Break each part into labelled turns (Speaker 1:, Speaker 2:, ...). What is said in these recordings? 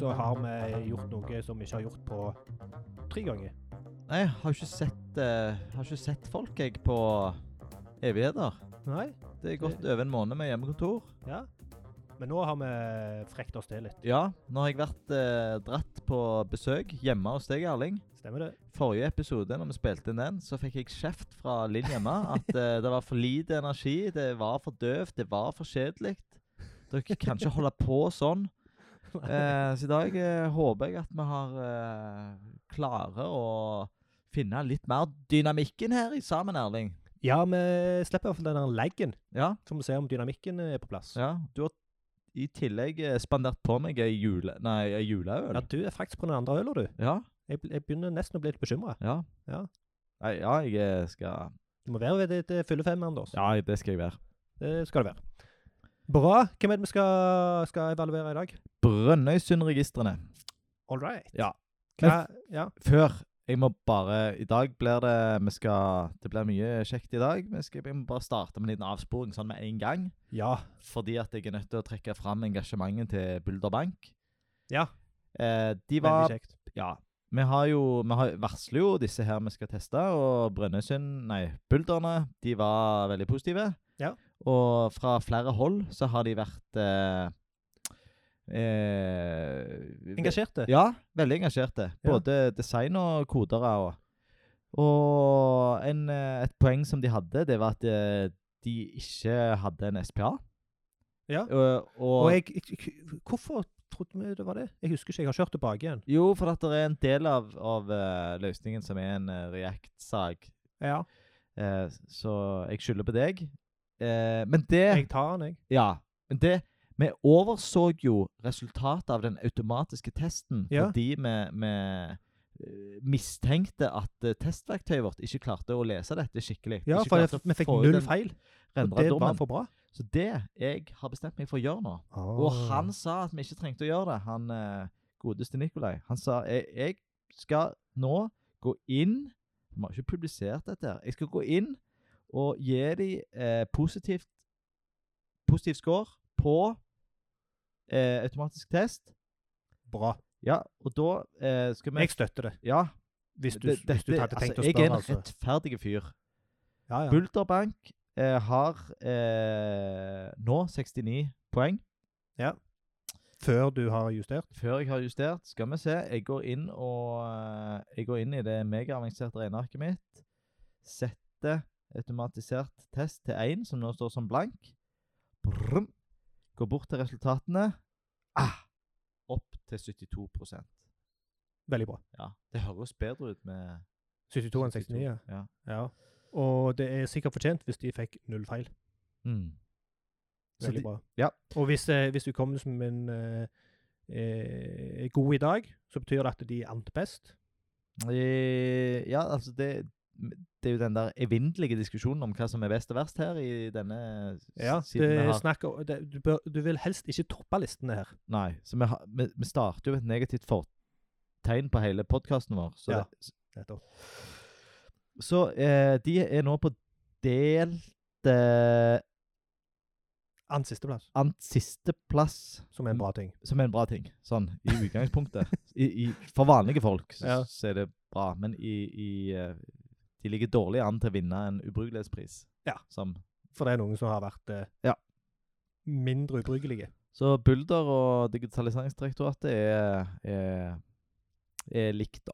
Speaker 1: så har vi gjort noe som vi ikke har gjort på tre ganger.
Speaker 2: Nei, jeg har ikke sett, eh, har ikke sett folk jeg på evigheter.
Speaker 1: Nei?
Speaker 2: Det er gått over en måned med hjemmekontor.
Speaker 1: Ja. Men nå har vi frekt oss til litt.
Speaker 2: Ja, nå har jeg vært eh, dratt på besøk hjemme hos deg, Erling.
Speaker 1: Stemmer det?
Speaker 2: Forrige episode, når vi spilte inn den, så fikk jeg kjeft fra Linn hjemme at eh, det var for lite energi, det var for døvt, det var for kjedelig. Dere kan ikke holde på sånn. Eh, så i dag eh, håper jeg at vi har eh, klarer å finne litt mer dynamikken her i sammen, Erling.
Speaker 1: Ja, vi slipper i hvert fall den der laggen,
Speaker 2: Ja,
Speaker 1: så må vi se om dynamikken er på plass.
Speaker 2: ja. Du har i tillegg eh, spandert på meg ei jule... Nei, ei
Speaker 1: Ja,
Speaker 2: juleøl.
Speaker 1: du er faktisk på den andre øla, du.
Speaker 2: Ja,
Speaker 1: Jeg, bl- jeg begynner nesten å bli litt bekymra.
Speaker 2: ja.
Speaker 1: Ja.
Speaker 2: Nei, ja, jeg eh, skal
Speaker 1: Du må være ved ditt eh, fulle fem, Anders.
Speaker 2: Ja, det skal jeg være.
Speaker 1: Det skal du være. Bra. Hvem er det vi skal, skal evaluere i dag?
Speaker 2: Brønnøysundregistrene.
Speaker 1: All right.
Speaker 2: Ja.
Speaker 1: Hva, ja.
Speaker 2: Før Jeg må bare I dag blir det Vi skal Det blir mye kjekt i dag. Vi skal vi må bare starte med en liten avsporing sånn med en gang.
Speaker 1: ja.
Speaker 2: Fordi at jeg er nødt til å trekke fram engasjementet til Bulder Bank.
Speaker 1: Ja.
Speaker 2: Eh, de var
Speaker 1: Veldig kjekt.
Speaker 2: Ja. Vi har jo Vi har, varsler jo disse her vi skal teste, og Brønnøysund Nei, Bulderne, de var veldig positive.
Speaker 1: Ja.
Speaker 2: Og fra flere hold så har de vært eh, eh,
Speaker 1: Engasjerte.
Speaker 2: Ja, veldig engasjerte.
Speaker 1: Ja.
Speaker 2: Både design og kodere. Og, og en, eh, et poeng som de hadde, det var at eh, de ikke hadde en SPA.
Speaker 1: Ja.
Speaker 2: Og, Eh, og,
Speaker 1: Og jeg, jeg, jeg- hvorfor trodde vi det var det? Jeg husker ikke, jeg har kjørt tilbake igjen.
Speaker 2: Jo, for at det er en del av, av eh, løsningen som er en eh, React-sag.
Speaker 1: Ja.
Speaker 2: Eh, så jeg skylder på deg. Eh, men det
Speaker 1: Jeg tar den, jeg.
Speaker 2: Ja. Men det Vi overså jo resultatet av den automatiske testen
Speaker 1: Ja.
Speaker 2: fordi vi, vi eh, mistenkte at eh, testverktøyet vårt ikke klarte å lese dette skikkelig.
Speaker 1: Ja,
Speaker 2: Ikke
Speaker 1: for
Speaker 2: klarte å
Speaker 1: vi fikk
Speaker 2: få ut
Speaker 1: null
Speaker 2: den
Speaker 1: feil. Og
Speaker 2: rendra
Speaker 1: det var
Speaker 2: dommen. Ah.
Speaker 1: for bra.
Speaker 2: Så det jeg har bestemt meg for å gjøre nå Og han sa at vi ikke trengte å gjøre det. Han eh, godeste Nikolai. Han sa jeg, jeg skal nå gå inn Vi har ikke publisert dette. her. Jeg skal gå inn og gi dem eh, positivt positiv score på eh, automatisk test.
Speaker 1: Bra.
Speaker 2: Ja, og da eh, skal vi
Speaker 1: Jeg støtter det,
Speaker 2: Ja,
Speaker 1: hvis du,
Speaker 2: det-
Speaker 1: hvis du
Speaker 2: dette-
Speaker 1: hadde tenkt
Speaker 2: altså,
Speaker 1: å
Speaker 2: Jeg er
Speaker 1: spørre.
Speaker 2: en
Speaker 1: Altså.
Speaker 2: rettferdig fyr.
Speaker 1: Ja, ja.
Speaker 2: Bulderbank eh, har eh, nå 69 poeng.
Speaker 1: Før du har justert.
Speaker 2: Før jeg har justert, skal vi se. Jeg går inn, og, eh, jeg går inn i det megaavanserte regnearket mitt. Setter automatisert test til 1, som nå står som blank. Brum. Går bort til resultatene. Ah, opp til 72
Speaker 1: Veldig bra.
Speaker 2: ja, Det høres bedre ut med
Speaker 1: 72 enn 69. ja.
Speaker 2: Ja.
Speaker 1: Ja. Og det er sikkert fortjent hvis de fikk null feil.
Speaker 2: Mm. Så
Speaker 1: Veldig
Speaker 2: de-
Speaker 1: bra.
Speaker 2: ja.
Speaker 1: Og hvis, eh, hvis hukommelsen min eh, eh, er god i dag, så betyr det at de ant best.
Speaker 2: Eh, Ja, altså det det er jo den der evinnelige diskusjonen om hva som er best og verst her i denne s-
Speaker 1: Ja,
Speaker 2: siden vi
Speaker 1: det
Speaker 2: har-
Speaker 1: snakker, det, du, bør, du vil helst ikke toppe listene her.
Speaker 2: Nei, så vi, har- vi, vi starter jo et negativt fortegn på hele podkasten vår. Så,
Speaker 1: Ja.
Speaker 2: det,
Speaker 1: Nettopp.
Speaker 2: så eh, de er nå på delt eh,
Speaker 1: Ant sisteplass,
Speaker 2: ant sisteplass,
Speaker 1: som er en bra ting.
Speaker 2: som er en bra ting, sånn i utgangspunktet. I, i, for vanlige folk så,
Speaker 1: Ja.
Speaker 2: så er det bra, men i, i eh, De ligger dårlig an til å vinne en ubrukelighetspris.
Speaker 1: Ja.
Speaker 2: Som,
Speaker 1: For det er noen som har vært eh,
Speaker 2: Ja.
Speaker 1: mindre ubrukelige.
Speaker 2: så Bulder og Digitaliseringsdirektoratet er, er, er likt, da.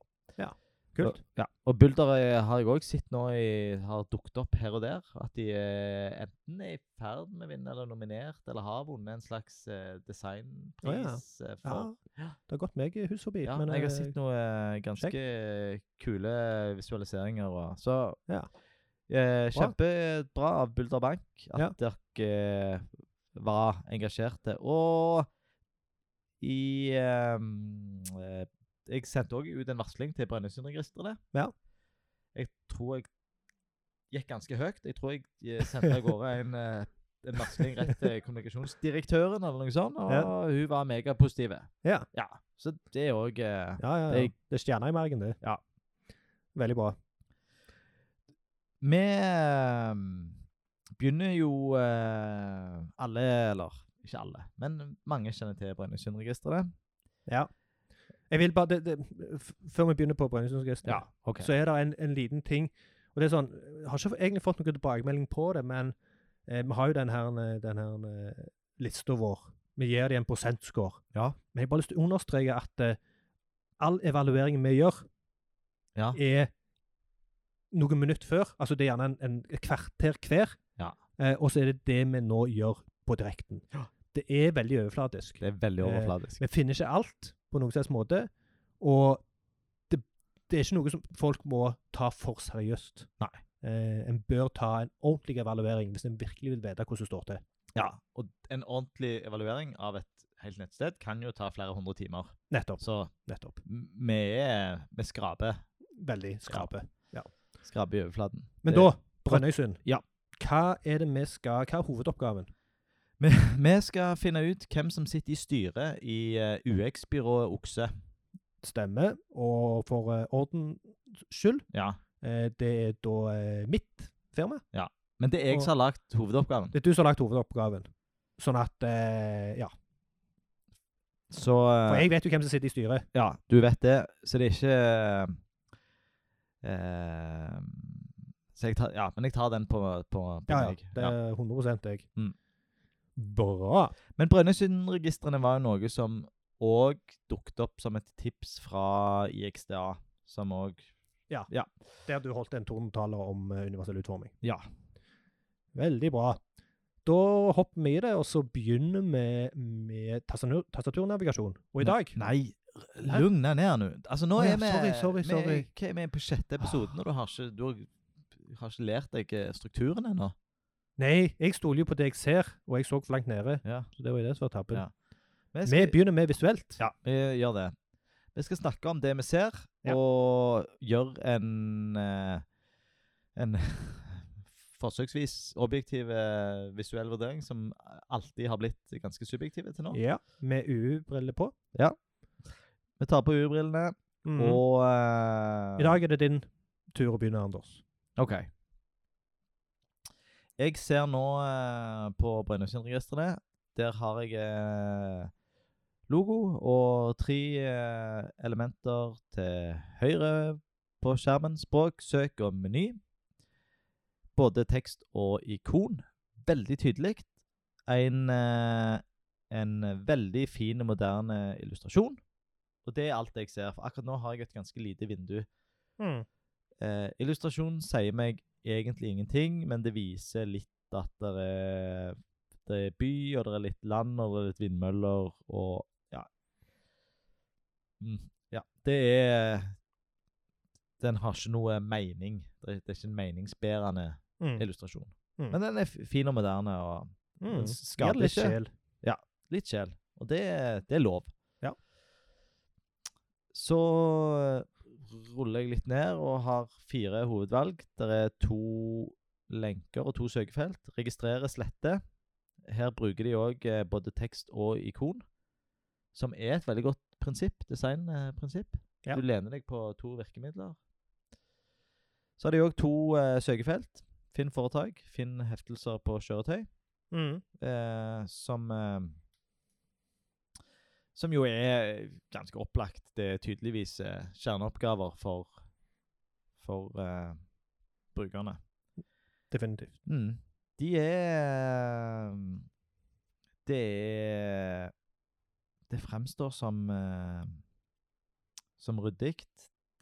Speaker 1: Kult.
Speaker 2: Ja. Og bulder eh, har jeg òg sett nå i, har dukket opp her og der. At de eh, enten er i ferd med å vinne eller nominert, eller har vunnet en slags eh, designpris. eh,
Speaker 1: Ja.
Speaker 2: for,
Speaker 1: Det har gått meg hus forbi.
Speaker 2: ja,
Speaker 1: men
Speaker 2: jeg har
Speaker 1: eh,
Speaker 2: sett noen eh, ganske kule visualiseringer. Og, så
Speaker 1: Ja.
Speaker 2: eh,
Speaker 1: Bra.
Speaker 2: kjempebra av Bulder Bank at
Speaker 1: Ja.
Speaker 2: dere eh, var engasjerte. Og i eh, eh, Jeg sendte òg ut en varsling til Brønnøysundregistrene.
Speaker 1: Ja.
Speaker 2: Jeg tror jeg gikk ganske høyt. Jeg tror jeg eh, sendte av gårde en eh, en varsling rett til kommunikasjonsdirektøren, eller noe sånt, og
Speaker 1: Ja.
Speaker 2: hun var megapositiv.
Speaker 1: Ja.
Speaker 2: ja. Så det eh, òg
Speaker 1: ja, ja, ja.
Speaker 2: det-
Speaker 1: Det er stjerna i margen, det.
Speaker 2: Ja.
Speaker 1: Veldig bra.
Speaker 2: Vi ehm, begynner jo eh, alle, eller ikke alle, men mange kjenner til Brønnøysundregistrene.
Speaker 1: Ja. Jeg vil bare, det, det, f- Før vi begynner på Brønnøysundregistrene,
Speaker 2: Ja, ok.
Speaker 1: så er det en, en liten ting og det er sånn, Jeg har ikke egentlig fått noen tilbakemelding på det, men eh, vi har jo den her, eh, den her eh, lista vår. Vi gir dem en prosentscore.
Speaker 2: Ja.
Speaker 1: Men jeg har bare lyst til å understreke at eh, all evaluering vi gjør,
Speaker 2: Ja.
Speaker 1: er noen minutter før. Altså det er gjerne en, en et kvarter hver.
Speaker 2: Ja.
Speaker 1: Eh, og så er det det vi nå gjør på direkten.
Speaker 2: Ja.
Speaker 1: Det er veldig overflatisk.
Speaker 2: Det er veldig
Speaker 1: Eh,
Speaker 2: overfladisk.
Speaker 1: Vi finner ikke alt på noen slags måte. Og det, det er ikke noe som folk må ta for seriøst.
Speaker 2: Nei.
Speaker 1: Eh, en bør ta en ordentlig evaluering hvis en virkelig vil vite hvordan det står til.
Speaker 2: Ja, og en ordentlig evaluering av et helt nettsted kan jo ta flere hundre timer.
Speaker 1: Nettopp.
Speaker 2: Så
Speaker 1: nettopp.
Speaker 2: m- vi er Vi skraper.
Speaker 1: Veldig skrape.
Speaker 2: Skraper i overflaten.
Speaker 1: Men
Speaker 2: Det-
Speaker 1: da, Brønnøysund.
Speaker 2: Ja.
Speaker 1: Hva er det vi skal, hva er hovedoppgaven?
Speaker 2: Vi, vi skal finne ut hvem som sitter i styret i eh, UX-byrået Okse.
Speaker 1: Stemme, og for eh, ordens skyld,
Speaker 2: Ja.
Speaker 1: eh, det er da eh, mitt firma.
Speaker 2: Men det er jeg
Speaker 1: Og-
Speaker 2: som har lagt hovedoppgaven.
Speaker 1: Det er du som har lagt hovedoppgaven. Sånn at, eh, ja.
Speaker 2: Så
Speaker 1: For
Speaker 2: eh,
Speaker 1: jeg vet jo hvem som sitter i styret.
Speaker 2: Ja, du vet det. Så det er ikke eh, så jeg tar, Ja, men jeg tar den på, på, på
Speaker 1: Ja, ja.
Speaker 2: meg.
Speaker 1: Det er 100 jeg.
Speaker 2: Mm.
Speaker 1: Bra.
Speaker 2: Men Brønnøysundregistrene var jo noe som òg dukket opp som et tips fra IXDA, som òg
Speaker 1: Der du holdt en tordentale om eh, universell utforming.
Speaker 2: Ja.
Speaker 1: Veldig bra. Da hopper vi i det, og så begynner vi med tastatur- tastaturnavigasjon. Og i dag
Speaker 2: Nei, lugn deg ned nå. Altså, nå
Speaker 1: Å ja,
Speaker 2: er vi
Speaker 1: sorry, sorry,
Speaker 2: vi,
Speaker 1: sorry. Ah.
Speaker 2: er- hva er vi på sjette episoden, og du har ikke, du har, har ikke lært deg eh, strukturen ennå?
Speaker 1: Nei, jeg stoler jo på det jeg ser, og jeg så for langt nede.
Speaker 2: Ja.
Speaker 1: Så det var jo det som var tabben.
Speaker 2: Ja. Vi
Speaker 1: Vi
Speaker 2: skal-
Speaker 1: begynner med visuelt.
Speaker 2: Ja, vi gjør det. Vi skal snakke om det vi ser,
Speaker 1: Ja.
Speaker 2: og gjøre en eh, En forsøksvis objektiv eh, visuell vurdering som alltid har blitt ganske subjektive til nå.
Speaker 1: Ja, Med UU-briller på.
Speaker 2: Vi tar på urbrillene,
Speaker 1: Mhm.
Speaker 2: og eh,
Speaker 1: I dag er det din tur å begynne, Anders.
Speaker 2: OK. Jeg ser nå eh, på Brønnøysundregistrene. Der har jeg eh, logo og tre eh, elementer til høyre på skjermen. Språk, søk og meny. Både tekst og ikon. Veldig tydelig. En, eh, en veldig fin, moderne illustrasjon. Og det er alt jeg ser. For akkurat nå har jeg et ganske lite vindu Eh, illustrasjon sier meg egentlig ingenting, men det viser litt at det er, det er by, og det er litt land, og det er litt vindmøller, og ja. Mm, ja, det er Den har ikke noe mening. Det er, det er ikke en meningsbærende
Speaker 1: Mm.
Speaker 2: illustrasjon.
Speaker 1: Mm.
Speaker 2: Men den er f- fin og moderne, og
Speaker 1: Mm.
Speaker 2: den
Speaker 1: Gir det
Speaker 2: skader
Speaker 1: litt
Speaker 2: ikke
Speaker 1: sjel.
Speaker 2: litt sjel. Og det, det er lov.
Speaker 1: Ja.
Speaker 2: Så eh, ruller jeg litt ned og har fire hovedvalg. Det er to lenker og to søkefelt. Registrere, slette. Her bruker de òg både tekst og ikon, som er et veldig godt prinsipp, designprinsipp.
Speaker 1: Ja.
Speaker 2: Du lener deg på to virkemidler. Så har de òg to eh, søkefelt. Finn foretak, finn heftelser på kjøretøy
Speaker 1: Mm.
Speaker 2: eh, som eh, Som jo er ganske opplagt. Det er tydeligvis eh, kjerneoppgaver for, for eh, brukerne.
Speaker 1: Definitivt.
Speaker 2: Mm. De er eh, Det er Det fremstår som eh, som ryddig.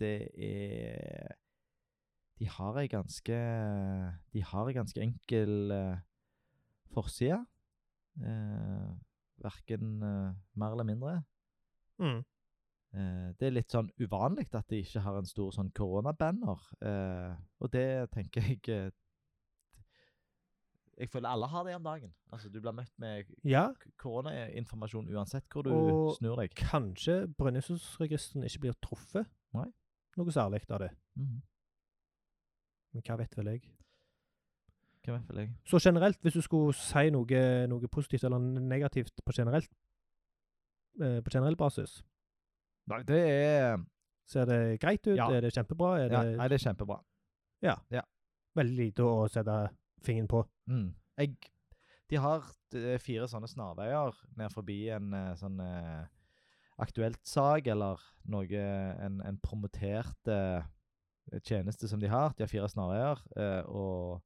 Speaker 2: Det er De har ei ganske De har ei ganske enkel eh, forside. Eh, Verken eh, mer eller mindre.
Speaker 1: Mm.
Speaker 2: Eh, det er litt sånn uvanlig at de ikke har en stor sånn koronabanner. Eh, og det tenker jeg eh, Jeg føler alle har det om dagen. Altså, Du blir møtt med k-
Speaker 1: Ja,
Speaker 2: koronainformasjon uansett hvor du
Speaker 1: Og-
Speaker 2: snur deg.
Speaker 1: kanskje Brønnøysundsregisteren ikke blir truffet
Speaker 2: Nei.
Speaker 1: noe særlig av det.
Speaker 2: Mhm.
Speaker 1: Men hva vet vel jeg.
Speaker 2: Hvem vet vel jeg?
Speaker 1: Så generelt, hvis du skulle si noe, noe positivt eller negativt på generelt eh, på generell basis,
Speaker 2: Nei, det er
Speaker 1: ser det greit ut?
Speaker 2: Ja.
Speaker 1: Er det kjempebra? Er
Speaker 2: ja,
Speaker 1: det
Speaker 2: Nei, det er kjempebra.
Speaker 1: veldig lite å sette fingeren på?
Speaker 2: Mm. Jeg, de har eh, fire sånne snarveier ned forbi en eh, sånn eh, aktuelt sak eller noe, en, en promotert eh, tjeneste som de har. De har fire snarveier, eh, og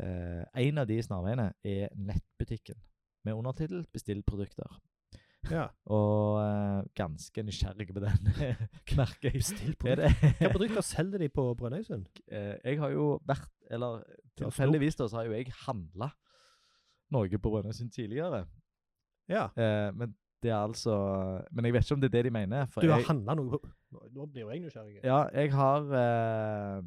Speaker 2: eh, en av de snarveiene er nettbutikken. Med undertittel 'Bestill produkter'.
Speaker 1: Ja.
Speaker 2: Og eh, ganske nysgjerrig på den, merker jeg.
Speaker 1: Bestill
Speaker 2: Er
Speaker 1: produkter.
Speaker 2: det?
Speaker 1: Hvilke produkter selger de på Brønnøysund?
Speaker 2: Eh, jeg har jo vært, eller
Speaker 1: Du har
Speaker 2: tilfeldigvis da, så har jo jeg handla noe på Brønnøysund tidligere.
Speaker 1: Ja.
Speaker 2: Eh, men det er altså Men jeg vet ikke om det er det de mener. For
Speaker 1: Du har
Speaker 2: jeg,
Speaker 1: handla noe på Nå- Nå blir jo jeg nysgjerrig.
Speaker 2: ja, jeg har eh,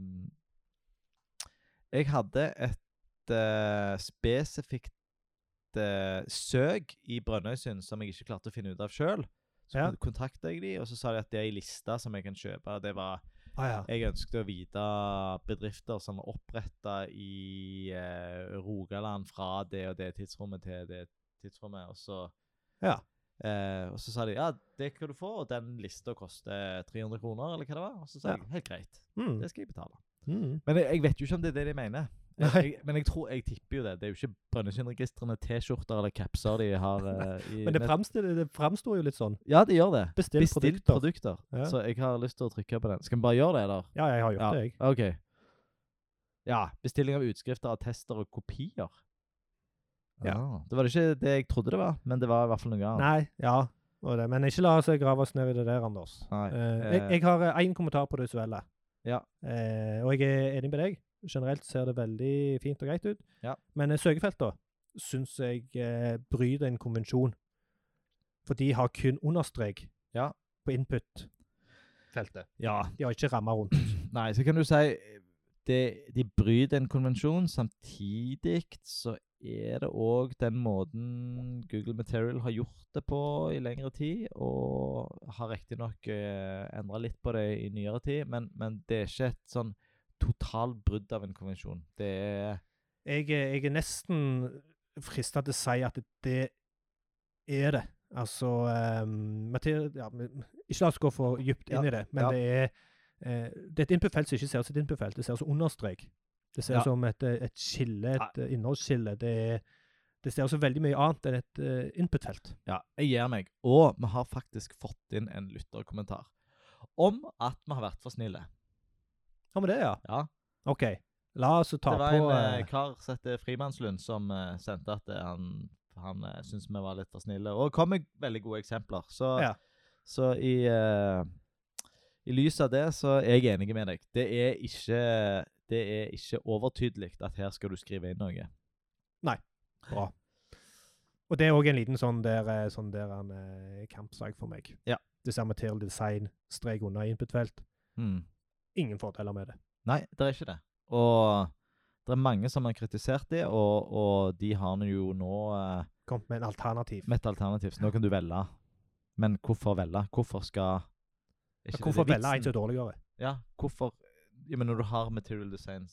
Speaker 2: Jeg hadde et eh, spesifikt eh, søk i Brønnøysund som jeg ikke klarte å finne ut av sjøl. Så
Speaker 1: Ja.
Speaker 2: kon- kontakta jeg de, og så sa de at det er ei liste som jeg kan kjøpe. Det var
Speaker 1: Ah, ja.
Speaker 2: Jeg ønsket å vite bedrifter som var oppretta i eh, Rogaland fra det og det tidsrommet til det tidsrommet. Og så,
Speaker 1: Ja.
Speaker 2: eh, og så sa de ja, det kan du få, og den lista koster 300 kroner, eller hva det var. Og så sa
Speaker 1: Ja.
Speaker 2: jeg helt greit,
Speaker 1: Mm.
Speaker 2: det skal jeg betale.
Speaker 1: Mm.
Speaker 2: Men jeg, jeg vet jo ikke om det er det de mener.
Speaker 1: Nei.
Speaker 2: Jeg, jeg, men jeg tror, jeg tipper jo det. Det er jo ikke Brønnøysundregistrene T-skjorter eller capser de har. Eh, i
Speaker 1: Men det
Speaker 2: nett-
Speaker 1: framstår, det framstår jo litt sånn.
Speaker 2: ja, de gjør det.
Speaker 1: Bestill,
Speaker 2: Bestill
Speaker 1: produkter.
Speaker 2: produkter.
Speaker 1: Ja.
Speaker 2: Så jeg har lyst til å trykke på den. Skal vi bare gjøre det, eller?
Speaker 1: Ja, jeg har gjort
Speaker 2: Ja.
Speaker 1: det, jeg.
Speaker 2: Ok. Ja, bestilling av utskrifter, attester og kopier.
Speaker 1: Ja.
Speaker 2: Ah, Det var ikke det jeg trodde det var, men det var i hvert fall noe annet.
Speaker 1: Nei, ja. Og det. Men ikke la seg grave oss ned i det der, Anders.
Speaker 2: Nei,
Speaker 1: Eh, jeg,
Speaker 2: eh.
Speaker 1: jeg har én kommentar på det visuelle.
Speaker 2: Ja.
Speaker 1: Eh, og jeg er enig med deg. Generelt ser det veldig fint og greit ut.
Speaker 2: Ja.
Speaker 1: Men eh, søkefeltene syns jeg eh, bryter en konvensjon. For de har kun understrek
Speaker 2: Ja.
Speaker 1: på input-feltet.
Speaker 2: Ja,
Speaker 1: De har ikke ramma rundt.
Speaker 2: nei, så kan du si det, de bryter en konvensjon. Samtidig så er det òg den måten Google Material har gjort det på i lengre tid, og har riktignok eh, endra litt på det i nyere tid, men, men det er ikke et sånn totalbrudd av en konvensjon. Det er
Speaker 1: Jeg, er- jeg er nesten frista til å si at det er det. Altså eh, materi- ja, men- Ikke la oss gå for dypt inn
Speaker 2: Ja,
Speaker 1: i det, men
Speaker 2: ja.
Speaker 1: det er eh, det er et input-felt som ikke ser ut som et input-felt. Det ser ut som understrek. Det ser
Speaker 2: Ja.
Speaker 1: ut som et, eh, et skille, et eh, innholdsskille. Det, er- det ser ut som veldig mye annet enn et eh, input-felt.
Speaker 2: Ja, jeg gir meg. Og vi har faktisk fått inn en lytterkommentar om at vi har vært for snille.
Speaker 1: Ja, men det, ja.
Speaker 2: Ja,
Speaker 1: OK. La oss ta
Speaker 2: Det var
Speaker 1: på
Speaker 2: en eh,
Speaker 1: eh,
Speaker 2: kar som heter Frimannslund, som eh, sendte at eh, han, han eh, syntes vi var litt for snille. Og kom med veldig gode eksempler. Så,
Speaker 1: Ja.
Speaker 2: så i, eh, i lys av det, så er jeg enig med deg. Det er ikke, det er ikke overtydelig at her skal du skrive inn noe.
Speaker 1: Bra. Og det er òg en liten sånn der, eh, sånn der en, eh, kampsak for meg.
Speaker 2: Ja.
Speaker 1: Det ser material design, strek unna input-felt.
Speaker 2: Mm.
Speaker 1: Hmm. Ingen fordeler med det.
Speaker 2: Nei, det er ikke det. Og det er mange som har kritisert det, og, og de har nå jo nå eh,
Speaker 1: Kom med en alternativ.
Speaker 2: med et alternativ. Så nå kan du velge. Men hvorfor velge? Hvorfor skal Er
Speaker 1: Ja,
Speaker 2: ikke det
Speaker 1: Hvorfor
Speaker 2: det er
Speaker 1: velge en som
Speaker 2: vitsen?
Speaker 1: er dårligere?
Speaker 2: Ja, hvorfor ja, men Når du har material design,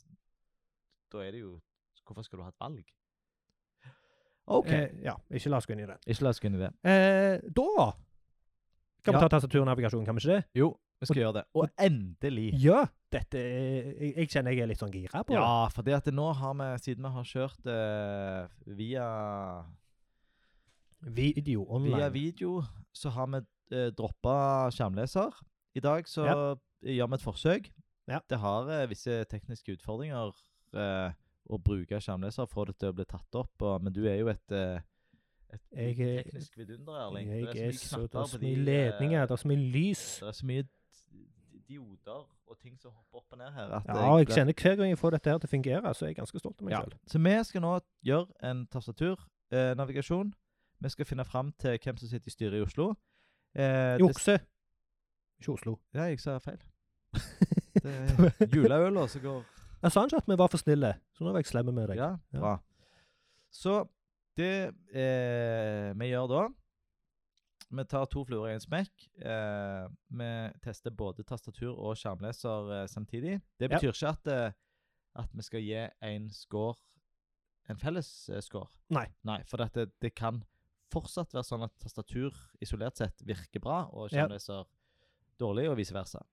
Speaker 2: da er det jo Hvorfor skal du ha et valg? OK.
Speaker 1: Eh, ja, ikke la oss gå inn i det.
Speaker 2: ikke la oss gå inn i det.
Speaker 1: Eh, da kan
Speaker 2: Ja.
Speaker 1: vi ta tastaturnavigasjon, kan vi ikke det?
Speaker 2: Jo, vi skal gjøre det. Og endelig.
Speaker 1: Ja! Dette er, jeg, jeg kjenner jeg er litt sånn gira på det.
Speaker 2: Ja, for det at det nå har vi, siden vi har kjørt eh, via
Speaker 1: Video online.
Speaker 2: Via video så har vi eh, droppa skjermleser. I dag så gjør vi et forsøk.
Speaker 1: Ja.
Speaker 2: Det har eh, visse tekniske utfordringer eh, å bruke skjermleser, få det til å bli tatt opp, og, men du er jo et, eh, et
Speaker 1: Jeg er-
Speaker 2: teknisk vidunder, Erling.
Speaker 1: jeg
Speaker 2: Det
Speaker 1: er
Speaker 2: mye
Speaker 1: så, det er
Speaker 2: knapper på
Speaker 1: så
Speaker 2: de,
Speaker 1: mye
Speaker 2: eh,
Speaker 1: ledninger, det er så mye lys.
Speaker 2: Det er så mye d- dioder og ting som hopper opp og ned her. at
Speaker 1: Ja, og jeg kjenner hver gang jeg får dette her til å fungere, så er jeg ganske stolt av meg
Speaker 2: ja.
Speaker 1: selv.
Speaker 2: Så vi skal nå gjøre en tastaturnavigasjon. vi skal finne fram til hvem som sitter i styret i Oslo. Eh, det
Speaker 1: Jukse. Ikke Oslo.
Speaker 2: Ja, jeg sa feil. Det er juleøla som går
Speaker 1: Jeg sa ikke at vi var for snille, så nå var jeg slemme med deg.
Speaker 2: Ja, bra. Så det eh, vi gjør da Vi tar to fluer i en smekk. Eh, vi tester både tastatur og skjermleser eh, samtidig. Det
Speaker 1: Ja.
Speaker 2: betyr ikke at, eh, at vi skal gi en score en felles eh, score.
Speaker 1: Nei.
Speaker 2: Nei, For dette, det kan fortsatt være sånn at tastatur isolert sett virker bra, og
Speaker 1: Ja.
Speaker 2: skjermleser dårlig, og vice versa.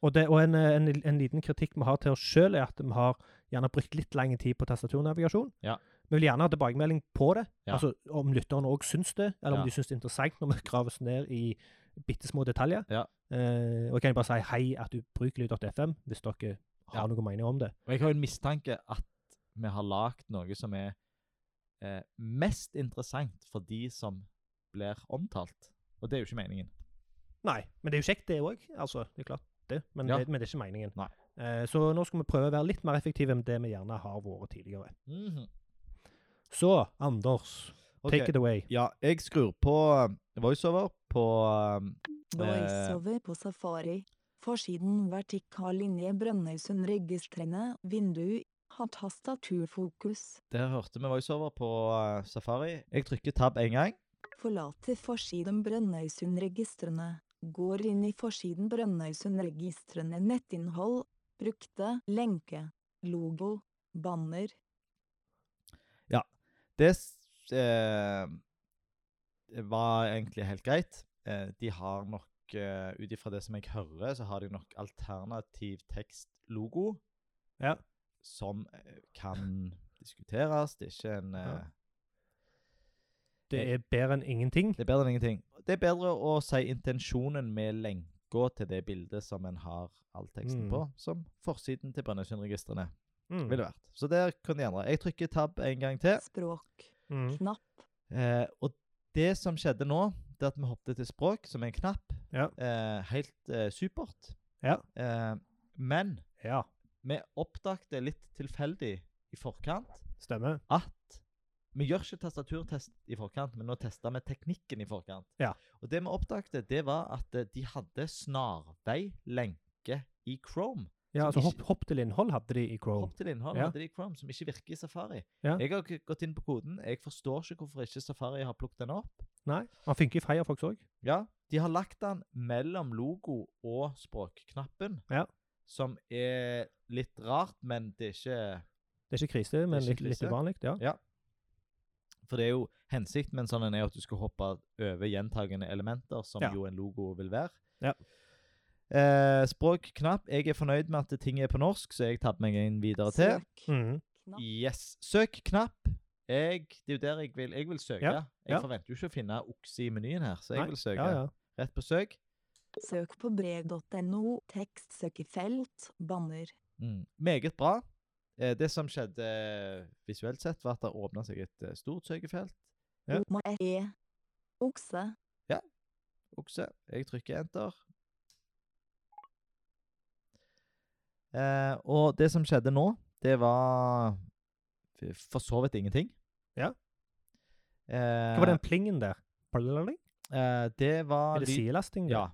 Speaker 1: Og, det, og en, eh, en, en liten kritikk vi har til oss sjøl, er at vi har gjerne brukt litt lang tid på tastaturnavigasjon.
Speaker 2: Ja.
Speaker 1: Vi vil gjerne ha tilbakemelding på det.
Speaker 2: Ja.
Speaker 1: Altså Om lytterne òg syns det, eller om
Speaker 2: Ja.
Speaker 1: de syns det er interessant når vi graver oss ned i bitte små detaljer.
Speaker 2: Ja.
Speaker 1: Eh, og jeg kan jeg bare si hei at ubrukelig.fm hvis dere har
Speaker 2: Ja.
Speaker 1: noe mening om det.
Speaker 2: Og jeg har jo en mistanke at vi har lagd noe som er eh, mest interessant for de som blir omtalt. Og det er jo ikke meningen.
Speaker 1: Nei, men det er jo kjekt, det òg. Altså, det er klart det, men,
Speaker 2: Ja.
Speaker 1: det, men det er ikke meningen.
Speaker 2: Nei.
Speaker 1: Eh, så nå skal vi prøve å være litt mer effektive enn det vi gjerne har vært tidligere. Så Anders,
Speaker 2: Mhm. Ok.
Speaker 1: take it away.
Speaker 2: Ja, jeg skrur på eh, voiceover på eh,
Speaker 3: Voiceover på Safari. Forsiden vertikal linje Brønnøysundregistrene. Vindu. Har tastaturfokus.
Speaker 2: Der hørte vi voiceover på eh, Safari. Jeg trykker tab én gang.
Speaker 3: Forlater forsiden Brønnøysundregistrene. Går inn i forsiden Brønnøysundregistrene nettinnhold. Brukte lenke. Logo. Banner.
Speaker 2: Det s- eh, det var egentlig helt greit. Eh, de har nok, eh, ut ifra det som jeg hører, så har de nok alternativ tekstlogo.
Speaker 1: Ja.
Speaker 2: Som eh, kan diskuteres. Det er ikke en eh,
Speaker 1: Ja. Det er bedre enn ingenting.
Speaker 2: Det er bedre enn ingenting. Det er bedre å si intensjonen med lenka til det bildet som en har all teksten
Speaker 1: Mm.
Speaker 2: på, som forsiden til Brønnøysundregistrene
Speaker 1: Mm.
Speaker 2: ville vært. Så der kan de endre. Jeg trykker tab en gang til.
Speaker 3: Språk.
Speaker 1: Mm.
Speaker 3: Knapp.
Speaker 2: Eh, og det som skjedde nå, det er at vi hoppet til språk, som er en knapp.
Speaker 1: Ja.
Speaker 2: Eh, helt eh, supert.
Speaker 1: Ja.
Speaker 2: Eh, men
Speaker 1: Ja,
Speaker 2: vi oppdagte litt tilfeldig i forkant
Speaker 1: stemmer.
Speaker 2: at vi gjør ikke tastaturtest i forkant, men nå tester vi teknikken i forkant.
Speaker 1: Ja.
Speaker 2: Og det vi oppdagte, det var at eh, de hadde snarvei lenke i Chrome.
Speaker 1: Ja,
Speaker 2: Som
Speaker 1: altså hopp,
Speaker 2: ikke-
Speaker 1: hopp til innhold hadde de i Chrome.
Speaker 2: Hopp til innhold
Speaker 1: Ja.
Speaker 2: hadde de i Chrome, som ikke virker i Safari.
Speaker 1: Ja.
Speaker 2: Jeg har g- gått inn på koden. Jeg forstår ikke hvorfor ikke Safari har plukket den opp.
Speaker 1: Nei, han funker i Firefox òg.
Speaker 2: Ja, de har lagt den mellom logo og språkknappen,
Speaker 1: Ja.
Speaker 2: som er litt rart, men det er ikke
Speaker 1: Det er ikke krise, men litt,
Speaker 2: ikke
Speaker 1: litt
Speaker 2: krise.
Speaker 1: uvanlig. Ja.
Speaker 2: For det er jo hensikten med en sånn en er jo at du skal hoppe over gjentagende elementer, som
Speaker 1: Ja.
Speaker 2: jo en logo vil være.
Speaker 1: Ja.
Speaker 2: Eh, språk knapp. Jeg er fornøyd med at ting er på norsk, så jeg tabber meg inn videre til.
Speaker 3: Søk.
Speaker 1: Mm.
Speaker 3: Knapp.
Speaker 2: Yes. Søk knapp. Jeg, det er jo der jeg vil Jeg vil søke.
Speaker 1: Ja, ja.
Speaker 2: Jeg forventer jo ikke å finne okse i menyen her, så jeg
Speaker 1: Nei,
Speaker 2: vil søke.
Speaker 1: Ja, ja.
Speaker 2: Rett på søk.
Speaker 3: Søk på brev.no. Tekstsøkefelt. Banner.
Speaker 2: Mm. Meget bra. Eh, det som skjedde eh, visuelt sett, var at det åpna seg et eh, stort søkefelt.
Speaker 1: Ja.
Speaker 3: Oma e. Okse.
Speaker 2: okse. Jeg trykker enter. Eh, og det som skjedde nå, det var f- for så vidt ingenting.
Speaker 1: Ja.
Speaker 2: Eh,
Speaker 1: Hva var den plingen der? Plaling?
Speaker 2: Eh, det var
Speaker 1: Er det
Speaker 2: lyd-
Speaker 1: sidelasting?
Speaker 2: Ja.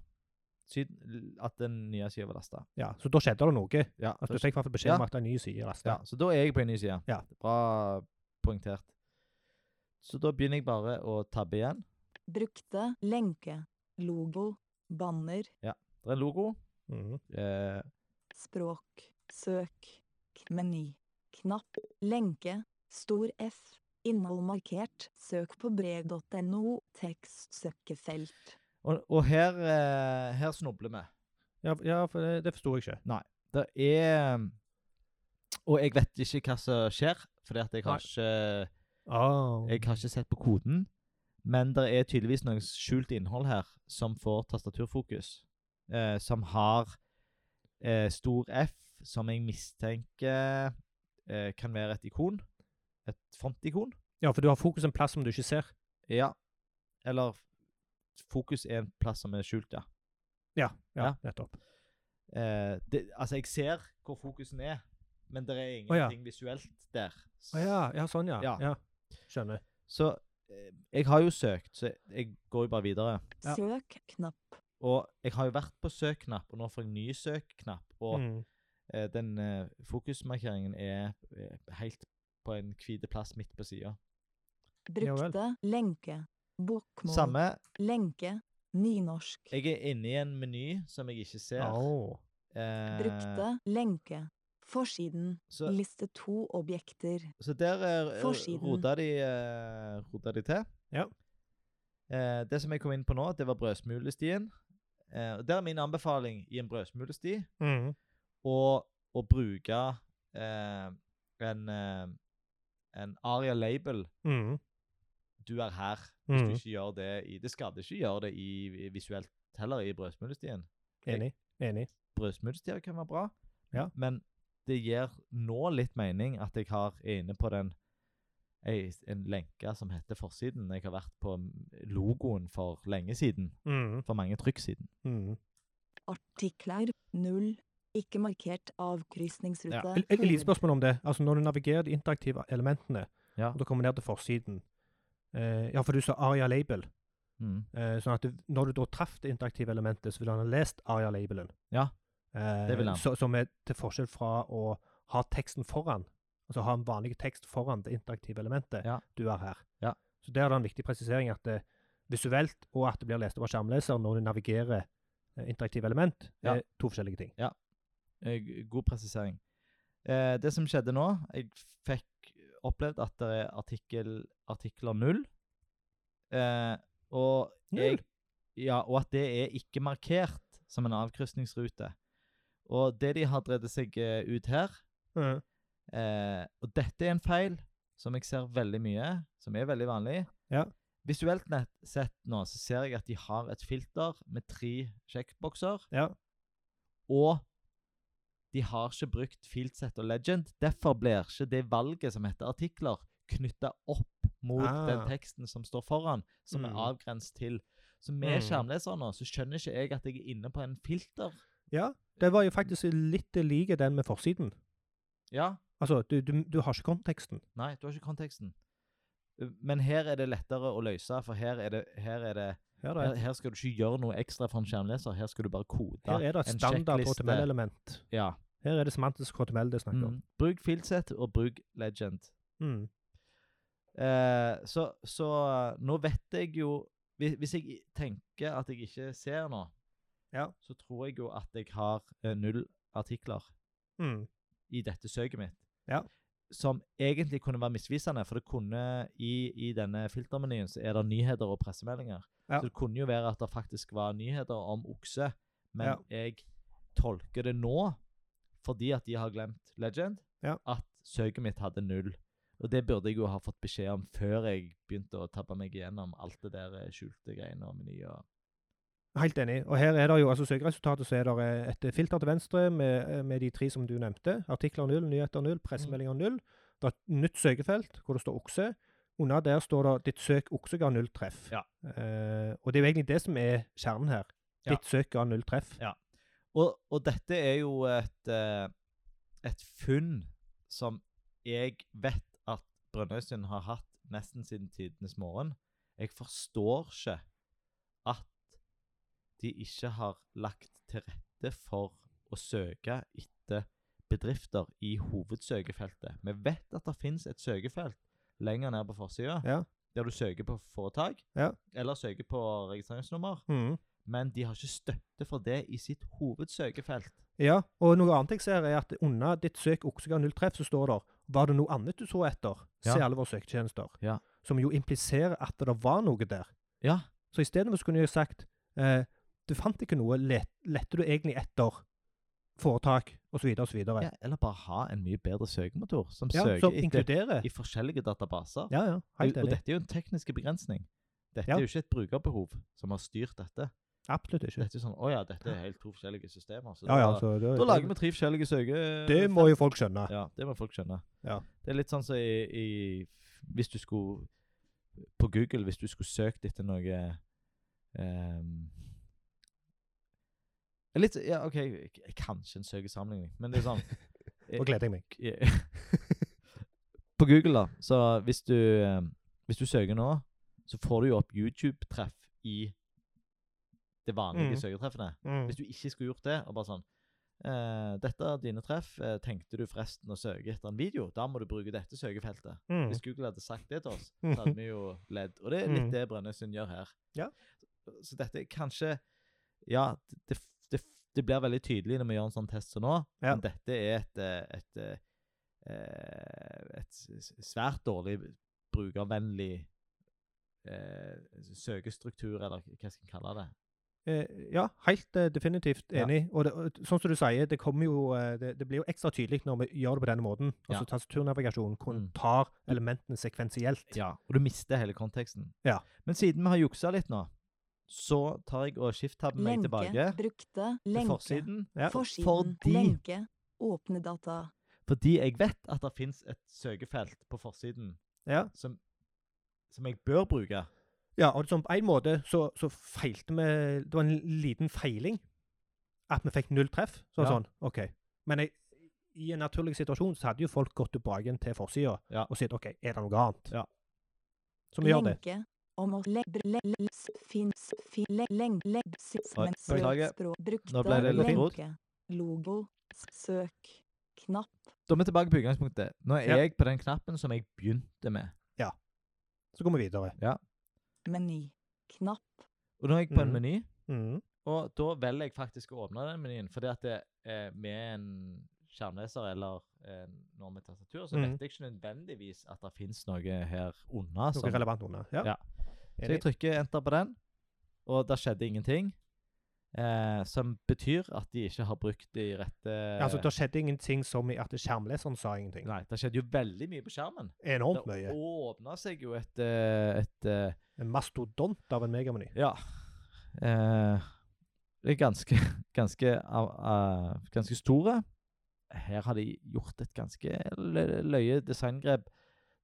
Speaker 2: Syd- at den nye sida var lasta.
Speaker 1: ja. Så da skjedde det noe?
Speaker 2: Ja,
Speaker 1: At du
Speaker 2: da skj-
Speaker 1: fikk i hvert fall beskjed om at en ny side er
Speaker 2: ja,
Speaker 1: lasta?
Speaker 2: så da er jeg på en ny side.
Speaker 1: Ja.
Speaker 2: Bra poengtert. Så da begynner jeg bare å tabbe igjen.
Speaker 3: Brukte lenke. Logo. Banner.
Speaker 2: Det er en logo.
Speaker 1: Mhm.
Speaker 2: Eh,
Speaker 3: Språk. Søk. K- Meny. Knapp. Lenke. Stor F. Innhold markert. Søk på brev.no. Tekstsøkefelt.
Speaker 2: og og her, eh, her snubler vi.
Speaker 1: Ja, ja, for det, det forsto jeg ikke.
Speaker 2: Det er Og jeg vet ikke hva som skjer, fordi at jeg har, ikke,
Speaker 1: Ah.
Speaker 2: jeg har ikke sett på koden. Men det er tydeligvis noe skjult innhold her som får tastaturfokus. Eh, som har eh, stor F, som jeg mistenker eh, kan være et ikon. Et fontikon.
Speaker 1: Ja, for du har fokus en plass som du ikke ser.
Speaker 2: Ja. Eller fokus er en plass som er skjult, ja.
Speaker 1: Ja, ja,
Speaker 2: Ja.
Speaker 1: nettopp.
Speaker 2: Eh, det, altså, jeg ser hvor fokusen er, men det er
Speaker 1: Å ja.
Speaker 2: ingenting visuelt der.
Speaker 1: Å ja, ja, sånn, ja.
Speaker 2: Ja.
Speaker 1: ja. Skjønner.
Speaker 2: Så eh, jeg har jo søkt, så jeg går jo bare videre.
Speaker 1: Ja.
Speaker 3: Søk. Knapp.
Speaker 2: Og jeg har jo vært på søk-knapp, og nå får jeg ny søk-knapp. Og
Speaker 1: Mm.
Speaker 2: eh, den eh, fokusmarkeringen er eh, helt på en hvit plass midt på sida.
Speaker 1: Ja vel.
Speaker 3: Brukte lenke. Bokmål.
Speaker 2: Samme.
Speaker 3: Lenke. Nynorsk.
Speaker 2: Jeg er inne i en meny som jeg ikke ser.
Speaker 1: Au.
Speaker 2: Eh,
Speaker 3: Brukte lenke. Forsiden.
Speaker 2: Så,
Speaker 3: Liste to objekter.
Speaker 2: så der eh,
Speaker 3: Forsiden.
Speaker 2: rota de, eh, rota de til.
Speaker 1: Ja.
Speaker 2: Eh, det som jeg kom inn på nå, det var brødsmulestien. Eh, og der er min anbefaling i en brødsmulesti
Speaker 1: Mm.
Speaker 2: og å bruke eh, en, eh, en aria-label.
Speaker 1: Mm.
Speaker 2: Du er her. Hvis
Speaker 1: Mhm.
Speaker 2: du ikke gjør det i Det skal du ikke gjøre det i, i visuelt heller, i brødsmulestien.
Speaker 1: Enig. Enig.
Speaker 2: Brødsmulestier kan være bra,
Speaker 1: Ja.
Speaker 2: men det gir nå litt mening at jeg har er inne på den ei, en lenke som heter Forsiden. Jeg har vært på logoen for lenge siden.
Speaker 1: Mm.
Speaker 2: For mange trykk siden.
Speaker 1: Mm.
Speaker 3: Artikler. Null. Ikke markert avkrysningsrute.
Speaker 1: Et et lite spørsmål om det. Altså Når du navigerer de interaktive elementene,
Speaker 2: Ja.
Speaker 1: og du kommer ned til forsiden eh, Ja, for du sa Aria Label.
Speaker 2: Mm.
Speaker 1: Eh, sånn at du, når du da traff det interaktive elementet, så ville han ha lest aria-labelen.
Speaker 2: Ja,
Speaker 1: Eh,
Speaker 2: det ville han.
Speaker 1: så- Som er til forskjell fra å ha teksten foran, altså ha en vanlig tekst foran det interaktive elementet.
Speaker 2: Ja.
Speaker 1: Du er her.
Speaker 2: Ja.
Speaker 1: Så der er det en viktig presisering at det visuelt og at det blir lest over skjermleser når du navigerer eh, interaktive element,
Speaker 2: Ja.
Speaker 1: er to forskjellige ting.
Speaker 2: Eh, g- God presisering. Eh, det som skjedde nå Jeg fikk opplevd at det er artikkel, artikler null. Eh, og
Speaker 1: Null?
Speaker 2: Jeg, ja, og at det er ikke markert som en avkrysningsrute. Og det de har drevet seg eh, ut her
Speaker 1: Mm.
Speaker 2: eh, Og dette er en feil som jeg ser veldig mye, som er veldig vanlig.
Speaker 1: Ja.
Speaker 2: Visuelt nett sett nå så ser jeg at de har et filter med tre sjekkbokser.
Speaker 1: Ja.
Speaker 2: Og de har ikke brukt Fieldset og Legend. Derfor blir ikke det valget som heter artikler, knytta opp mot
Speaker 1: Ah.
Speaker 2: den teksten som står foran, som
Speaker 1: Mm.
Speaker 2: er avgrenset til. Så med
Speaker 1: Mm.
Speaker 2: skjermleser nå, så skjønner ikke jeg at jeg er inne på en filter.
Speaker 1: ja. Det var jo faktisk litt like den med forsiden.
Speaker 2: Ja,
Speaker 1: Altså, du, du, du har ikke konteksten.
Speaker 2: nei, du har ikke konteksten. Uh, Men her er det lettere å løse, for her er det, her er det
Speaker 1: Her er
Speaker 2: her,
Speaker 1: det,
Speaker 2: her skal du ikke gjøre noe ekstra for en skjermleser. Her skal du bare kode
Speaker 1: her er det et
Speaker 2: en
Speaker 1: standard
Speaker 2: sjekkliste.
Speaker 1: HTML-element.
Speaker 2: Ja.
Speaker 1: Her er det semantisk HTML det er snakk om.
Speaker 2: Mm. Bruk Fieldset og bruk Legend.
Speaker 1: Mm.
Speaker 2: Eh, så, så eh, nå vet jeg jo hvis, hvis jeg i- tenker at jeg ikke ser nå,
Speaker 1: Ja.
Speaker 2: så tror jeg jo at jeg har eh, null artikler
Speaker 1: Mm.
Speaker 2: i dette søket mitt.
Speaker 1: Ja.
Speaker 2: Som egentlig kunne være misvisende, for det kunne i, i denne filtermenyen så er det nyheter og pressemeldinger.
Speaker 1: Ja.
Speaker 2: Så det kunne jo være at det faktisk var nyheter om okse, men
Speaker 1: Ja.
Speaker 2: jeg tolker det nå, fordi at de har glemt Legend,
Speaker 1: Ja.
Speaker 2: at søket mitt hadde null. Og det burde jeg jo ha fått beskjed om før jeg begynte å tabbe meg igjennom alt det der eh, skjulte greiene og menyer.
Speaker 1: Helt enig. Og her er det jo, altså søkeresultatet, så er det et eh, filter til venstre med, eh, med de tre som du nevnte. Artikler null, nyheter null, pressemeldinger null. Det er et nytt søkefelt hvor det står okse. Under der står det 'ditt søk okse ga null treff'.
Speaker 2: Ja.
Speaker 1: Eh, og det er jo egentlig det som er kjernen her.
Speaker 2: Ja.
Speaker 1: Ditt søk ga null treff.
Speaker 2: Ja. Og, og dette er jo et, eh, et funn som jeg vet at Brønnøysund har hatt nesten siden tidenes morgen. Jeg forstår ikke at de ikke har lagt til rette for å søke etter bedrifter i hovedsøkefeltet. Vi vet at det finnes et søkefelt lenger ned på forsida,
Speaker 1: Ja.
Speaker 2: der du søker på foretak,
Speaker 1: Ja.
Speaker 2: eller søker på registreringsnummer
Speaker 1: Mhm.
Speaker 2: men de har ikke støtte for det i sitt hovedsøkefelt.
Speaker 1: ja. Og noe annet jeg ser, er at under 'ditt søk okse ga null treff' så står det 'var det noe annet du så etter', se
Speaker 2: Ja.
Speaker 1: alle våre søketjenester.
Speaker 2: Ja.
Speaker 1: Som jo impliserer at det var noe der.
Speaker 2: Ja.
Speaker 1: Så istedenfor kunne jeg sagt eh, du fant ikke noe, let, lette du egentlig etter foretak osv. osv.
Speaker 2: ja. Eller bare ha en mye bedre søkemotor som
Speaker 1: Ja,
Speaker 2: søker
Speaker 1: som
Speaker 2: etter
Speaker 1: inkluderer.
Speaker 2: i forskjellige databaser.
Speaker 1: Ja, ja. Helt
Speaker 2: og, og
Speaker 1: enig.
Speaker 2: dette er jo en teknisk begrensning. Dette
Speaker 1: Ja.
Speaker 2: er jo ikke et brukerbehov som har styrt dette.
Speaker 1: Absolutt ikke.
Speaker 2: Dette er sånn, Å ja, dette er helt to forskjellige systemer. Så
Speaker 1: Ja, ja,
Speaker 2: da,
Speaker 1: så det,
Speaker 2: da lager vi tre forskjellige søke...
Speaker 1: Det må jo folk skjønne.
Speaker 2: Ja, det må folk skjønne.
Speaker 1: Ja.
Speaker 2: Det er litt sånn som i, i Hvis du skulle På Google, hvis du skulle søkt etter noe ehm, Litt Ja, OK, k- kanskje en søkesammenligning, men det er sånn
Speaker 1: Og gleder jeg meg.
Speaker 2: På Google, da, så hvis du ehm, Hvis du søker nå, så får du jo opp YouTube-treff i det vanlige
Speaker 1: Mm.
Speaker 2: søketreffene.
Speaker 1: Mm.
Speaker 2: Hvis du ikke skulle gjort det, og bare sånn eh, Dette er dine treff. eh, tenkte du forresten å søke etter en video? Da må du bruke dette søkefeltet.
Speaker 1: Mm.
Speaker 2: Hvis Google hadde sagt det til oss, så hadde vi jo ledd. Og det er
Speaker 1: Mm.
Speaker 2: litt det Brønnøysund gjør her.
Speaker 1: Ja.
Speaker 2: Så dette er kanskje Ja, det, det, det blir veldig tydelig når vi gjør en sånn test som nå,
Speaker 1: Ja.
Speaker 2: men dette er et, eh, et, eh, eh, et s- svært dårlig brukervennlig eh, søkestruktur, eller hva skal en kalle det.
Speaker 1: Eh, ja, helt eh, definitivt
Speaker 2: Ja.
Speaker 1: enig. Og, det, og sånn som du sier, det, kommer jo, eh, det, det blir jo ekstra tydelig når vi gjør det på denne måten.
Speaker 2: Ja.
Speaker 1: Altså tastaturnavigasjonen kun
Speaker 2: Mm.
Speaker 1: tar elementene sekvensielt.
Speaker 2: Ja, og du mister hele konteksten.
Speaker 1: Ja.
Speaker 2: Men siden vi har juksa litt nå, så tar jeg og skift-tabber meg tilbake
Speaker 3: Lenke. Brukte.
Speaker 2: til
Speaker 3: Lenke.
Speaker 2: forsiden.
Speaker 1: Ja.
Speaker 3: Forsiden.
Speaker 2: Fordi-
Speaker 3: Lenke. Åpne data.
Speaker 2: Fordi jeg vet at det fins et søkefelt på forsiden
Speaker 1: Ja.
Speaker 2: som, som jeg bør bruke.
Speaker 1: Ja, og sånn, på en måte så, så feilte vi Det var en liten feiling at vi fikk null treff. Så var det
Speaker 2: Ja.
Speaker 1: sånn, OK. Men jeg, i en naturlig situasjon så hadde jo folk gått tilbake igjen til forsida
Speaker 2: Ja.
Speaker 1: og sett OK, er det noe annet?
Speaker 2: Ja. Mm.
Speaker 1: Så vi gjør det.
Speaker 3: Lenke. Om å lebre lebs fins fin le leng lebs
Speaker 2: Oi,
Speaker 3: men
Speaker 2: beklager.
Speaker 3: språk brukte
Speaker 2: Nå ble
Speaker 1: det litt
Speaker 2: rot.
Speaker 3: lenke. Logo. S- Søk. Knapp.
Speaker 2: Da er vi tilbake på utgangspunktet. Nå er
Speaker 1: Ja.
Speaker 2: jeg på den knappen som jeg begynte med.
Speaker 1: Så går vi videre.
Speaker 3: Meny. Knapp.
Speaker 2: Og nå er jeg på en
Speaker 1: Mhm.
Speaker 2: meny,
Speaker 1: Mhm.
Speaker 2: og da velger jeg faktisk å åpne den menyen. Fordi at det, eh, med en skjermleser eller eh, noe med tastatur, så
Speaker 1: Mhm.
Speaker 2: vet jeg ikke nødvendigvis at det fins noe her
Speaker 1: Noe
Speaker 2: unna. som-
Speaker 1: relevant under. Ja.
Speaker 2: Ja. Så jeg trykker enter på den, og der skjedde ingenting. Eh, som betyr at de ikke har brukt de rette
Speaker 1: Altså, Det skjedde ingenting som i at skjermleseren sa ingenting.
Speaker 2: Eh, Nei, det skjedde jo veldig mye på skjermen.
Speaker 1: Enormt
Speaker 2: det
Speaker 1: mye.
Speaker 2: åpna seg jo et, eh, et eh,
Speaker 1: En mastodont av en megameny.
Speaker 2: Ja. eh, det er ganske ganske, uh, uh, ganske store. Her har de gjort et ganske lø- løye designgrep.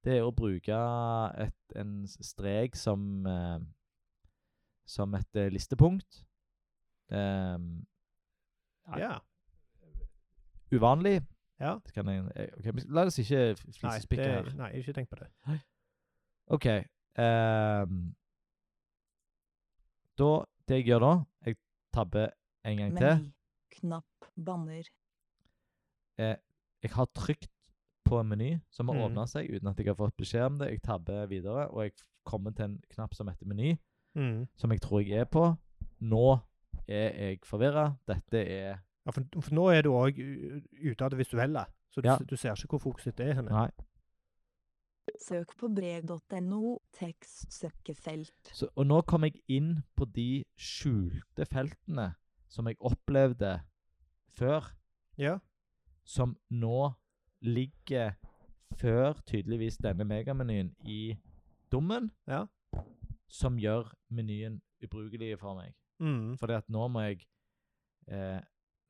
Speaker 2: Det er å bruke et, en s- strek som eh, som et eh, listepunkt. Ehm, Nei.
Speaker 1: Ja.
Speaker 2: uvanlig.
Speaker 1: Ja.
Speaker 2: Det Kan jeg, eh, ok, men la oss ikke f-
Speaker 1: Nei,
Speaker 2: flisespikke her.
Speaker 1: det- nei, jeg har ikke tenkt på det.
Speaker 2: OK. ehm, da Det jeg gjør da Jeg tabber en gang til.
Speaker 3: Meny. Knapp. Banner.
Speaker 2: Jeg har trykt på en meny som har
Speaker 1: Mhm.
Speaker 2: åpna seg uten at jeg har fått beskjed om det. Jeg tabber videre, og jeg f- kommer til en knapp som heter meny,
Speaker 1: Mhm.
Speaker 2: som jeg tror jeg er på. Nå er jeg forvirra. Dette er
Speaker 1: Ja, for, for nå er du òg ute av det visuelle, så du,
Speaker 2: Ja.
Speaker 1: du ser ikke hvor fokuset ditt er henne.
Speaker 2: Nei.
Speaker 3: Søk på brev.no. Tekstsøkefelt.
Speaker 2: Så, og nå kom jeg inn på de skjulte feltene som jeg opplevde før.
Speaker 1: Ja.
Speaker 2: som nå ligger før tydeligvis denne megamenyen i dommen,
Speaker 1: Ja.
Speaker 2: som gjør menyen ubrukelig for meg.
Speaker 1: Mhm.
Speaker 2: Fordi at nå må jeg eh,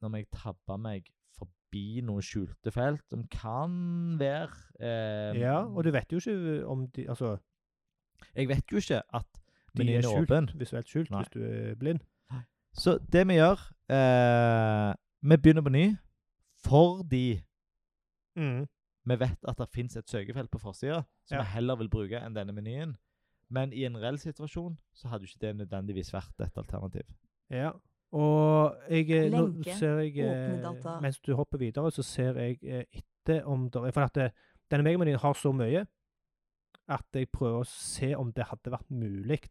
Speaker 2: nå må jeg tabbe meg forbi noen skjulte felt som kan være eh,
Speaker 1: ja, og du vet jo ikke om de Altså,
Speaker 2: Jeg vet jo ikke at
Speaker 1: de er
Speaker 2: menyen er
Speaker 1: skjult,
Speaker 2: åpen.
Speaker 1: visuelt skjult
Speaker 2: Nei.
Speaker 1: hvis du er blind.
Speaker 2: Så det vi gjør eh, Vi begynner på ny fordi
Speaker 1: Mhm.
Speaker 2: vi vet at det fins et søkefelt på forsida som
Speaker 1: Ja.
Speaker 2: vi heller vil bruke enn denne menyen. Men i en reell situasjon så hadde jo ikke det nødvendigvis vært et alternativ.
Speaker 1: Ja. Og jeg eh, Nå
Speaker 3: Lenke.
Speaker 1: ser jeg eh,
Speaker 3: Åpne data.
Speaker 1: Mens du hopper videre, så ser jeg eh, etter om det For at eh, denne megamenyen har så mye at jeg prøver å se om det hadde vært mulig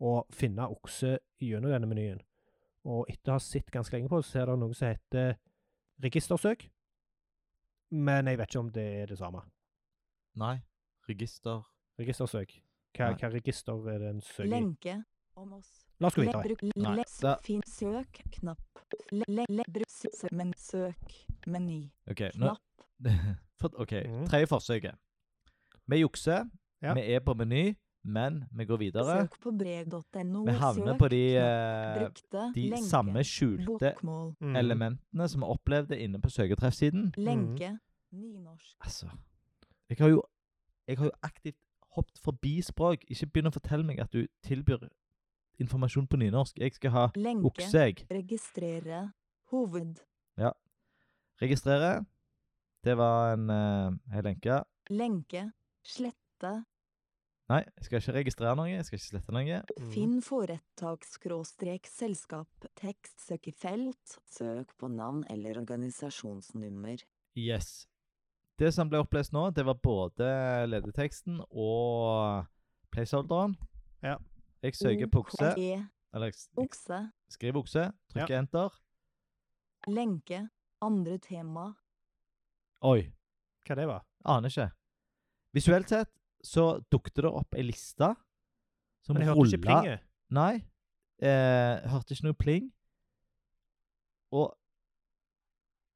Speaker 1: å finne okse gjennom denne menyen. Og etter å ha sett ganske lenge på det, så er det noe som heter registersøk. Men jeg vet ikke om det er det samme.
Speaker 2: Nei. Register
Speaker 1: Registersøk. Hva,
Speaker 2: Nei.
Speaker 1: hva register er det en søker i?
Speaker 3: Lenke. Om oss.
Speaker 1: La oss gå
Speaker 3: Le-
Speaker 1: videre.
Speaker 3: bruk-
Speaker 2: Nei,
Speaker 3: les-
Speaker 2: da-
Speaker 3: Finn søk. Knapp. Le, le, le, bruk, sø, men søk. Meny.
Speaker 2: OK. Eh, Nå,
Speaker 3: Knapp.
Speaker 2: for, ok,
Speaker 1: Mhm.
Speaker 2: Tredje forsøket. Vi jukser.
Speaker 1: Ja.
Speaker 2: Vi er på meny, men vi går videre.
Speaker 3: Søk på brev.no.
Speaker 2: Vi havner
Speaker 3: søk,
Speaker 2: på de,
Speaker 3: knapp,
Speaker 2: eh,
Speaker 3: Brukte.
Speaker 2: de
Speaker 3: lenke.
Speaker 2: samme skjulte Mm.
Speaker 3: Bokmål.
Speaker 1: Mhm.
Speaker 2: elementene som vi opplevde inne på søketreffsiden.
Speaker 3: Lenke. Nynorsk.
Speaker 2: Altså Jeg har jo, jeg har jo aktivt hoppet forbi språk. Ikke begynn å fortelle meg at du tilbyr informasjon på nynorsk. Jeg skal ha
Speaker 3: Lenke.
Speaker 2: okse, jeg.
Speaker 3: Registrere. Hoved.
Speaker 2: Registrere. Det var en eh, hel lenke.
Speaker 3: Lenke. Slette.
Speaker 2: Mm. Nei, jeg skal ikke registrere noe. Jeg skal ikke slette noe.
Speaker 1: Mhm.
Speaker 3: Finn foretak-selskap. Tekstsøkefelt. Søk på navn eller organisasjonsnummer.
Speaker 2: Yes. Det som ble opplest nå, det var både ledeteksten og placeholderen.
Speaker 1: Ja.
Speaker 2: Jeg søker på okse.
Speaker 3: OKE,
Speaker 2: Eller jeg s- jeg
Speaker 3: Okse.
Speaker 2: skriver okse, trykker enter.
Speaker 3: Lenke. Andre tema.
Speaker 2: Oi,
Speaker 1: Hva det var?
Speaker 2: Aner ikke. Visuelt sett så dukket det opp ei liste som
Speaker 1: Men jeg hørte ikke
Speaker 2: rulla
Speaker 1: plinget.
Speaker 2: Nei. Eh, hørte ikke noe pling. Og,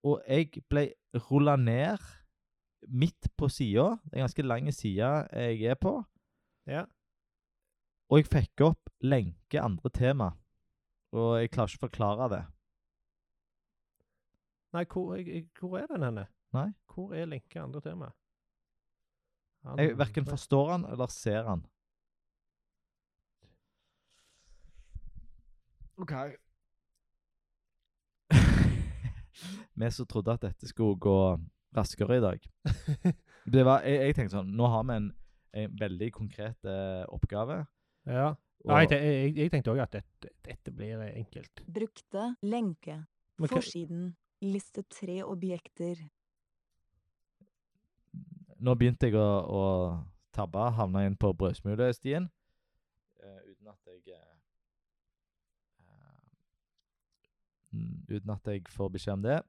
Speaker 2: og jeg ble rulla ned midt på sida. Det er en ganske lang side jeg er på.
Speaker 1: Ja.
Speaker 2: Og jeg fikk opp lenke andre tema. Og jeg klarer ikke å forklare det.
Speaker 1: Nei, hvor, jeg, jeg, hvor er den henne?
Speaker 2: Nei.
Speaker 1: Hvor er lenke andre tema?
Speaker 2: Jeg verken forstår han eller ser han. OK. Vi som trodde at dette skulle gå raskere i dag. Det var, jeg, jeg tenkte sånn Nå har vi en, en veldig konkret eh, oppgave.
Speaker 1: Ja.
Speaker 2: og-
Speaker 1: Nei, jeg, jeg, jeg tenkte òg at dette, dette blir eh, enkelt.
Speaker 3: Brukte lenke.
Speaker 1: Men hva-
Speaker 3: Forsiden. Liste tre objekter.
Speaker 2: nå begynte jeg å, å tabbe, havna inn på brødsmulestien. eh, uten at jeg eh, eh, mm, Uten at jeg får beskjed om det.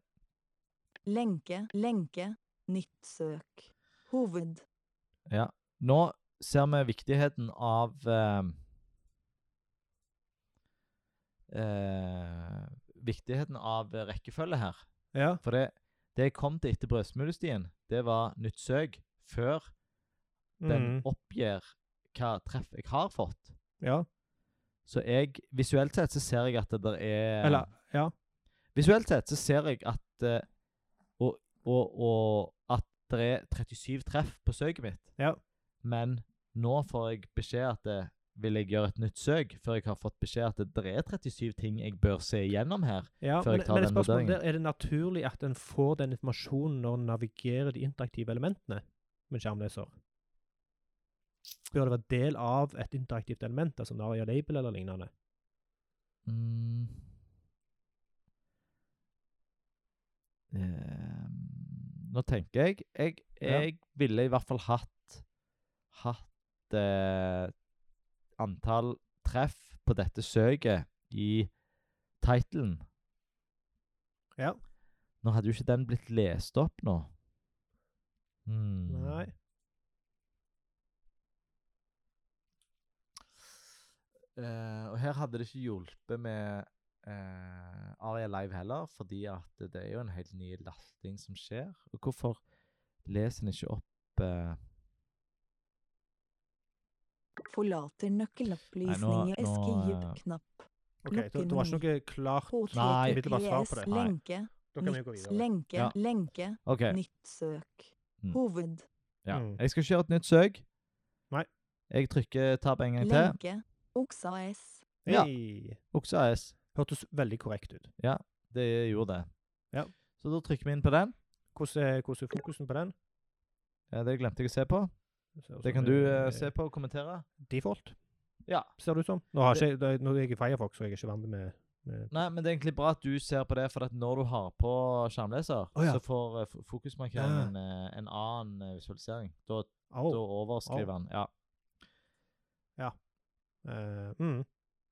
Speaker 3: Lenke, lenke. Nytt søk. Hoved.
Speaker 2: Ja. Nå ser vi viktigheten av eh, eh, Viktigheten av rekkefølge her.
Speaker 1: ja.
Speaker 2: For det, det jeg kom til etter brødsmulestien, det var nytt søk før den
Speaker 1: Mm.
Speaker 2: oppgir hva treff jeg har fått.
Speaker 1: Ja.
Speaker 2: Så jeg, visuelt sett så ser jeg at det der er
Speaker 1: Eller Ja.
Speaker 2: Visuelt sett så ser jeg at eh, og, og, og at det er 37 treff på søket mitt.
Speaker 1: Ja.
Speaker 2: Men nå får jeg beskjed at det, vil jeg gjøre et nytt søk, før jeg har fått beskjed at det er 37 ting jeg bør se igjennom her.
Speaker 1: ja.
Speaker 2: Før jeg
Speaker 1: Men,
Speaker 2: tar
Speaker 1: men
Speaker 2: den vurderingen.
Speaker 1: spørsmålet der, er det naturlig at en får den informasjonen når en navigerer de interaktive elementene med skjermleser? Bør det være del av et interaktivt element, altså Naria Label eller lignende?
Speaker 2: Mm. Eh, nå tenker jeg Jeg,
Speaker 1: Ja.
Speaker 2: jeg ville i hvert fall hatt hatt eh, antall treff på dette søket i titlen.
Speaker 1: Ja.
Speaker 2: Nå hadde jo ikke den blitt lest opp nå. Hmm.
Speaker 1: Nei.
Speaker 2: Eh, og her hadde det ikke hjulpet med eh, Aria Live heller, fordi at det er jo en helt ny lasting som skjer. Og hvorfor leser en ikke opp eh,
Speaker 3: Forlater nøkkelopplysninger.
Speaker 2: Nei, nå- nå,
Speaker 3: Eskejup
Speaker 2: eh,
Speaker 3: knapp.
Speaker 1: OK, da, det var ikke noe klart
Speaker 2: Nei.
Speaker 1: Umiddelbart svar på det.
Speaker 3: H3PS.
Speaker 2: Nei.
Speaker 3: Lenke.
Speaker 1: Da kan vi jo gå
Speaker 3: Nytt.
Speaker 1: videre.
Speaker 3: Lenke,
Speaker 2: Ja.
Speaker 3: lenke.
Speaker 2: OK.
Speaker 3: Nytt søk.
Speaker 2: Mm.
Speaker 3: Hoved.
Speaker 2: Ja.
Speaker 1: Mm.
Speaker 2: Jeg skal ikke gjøre et nytt søk.
Speaker 1: Nei.
Speaker 2: Jeg trykker tab en gang til.
Speaker 3: Lenke. Oksa S.
Speaker 2: Ja.
Speaker 1: Hei.
Speaker 2: Okse AS.
Speaker 1: Hørtes veldig korrekt ut.
Speaker 2: Det gjorde det.
Speaker 1: Ja.
Speaker 2: Så da trykker vi inn på den.
Speaker 1: Hvordan er, hvordan er fokusen på den?
Speaker 2: Eh, det glemte jeg å se på.
Speaker 1: ser ut
Speaker 2: Det
Speaker 1: som
Speaker 2: kan du eh,
Speaker 1: er
Speaker 2: se på og kommentere.
Speaker 1: Default,
Speaker 2: Ja.
Speaker 1: ser det ut som. Nå, har ikke, da- nå er jeg i Firefox, så jeg er ikke vant med
Speaker 2: Nei, men det er egentlig bra at du ser på det, for at når du har på skjermleser,
Speaker 1: Å, ja.
Speaker 2: så får eh, fo- fokusmarkeringen eh, en annen eh, visualisering. Da,
Speaker 1: Au.
Speaker 2: da overskriver
Speaker 1: Au.
Speaker 2: han. Ja.
Speaker 1: Eh, mm.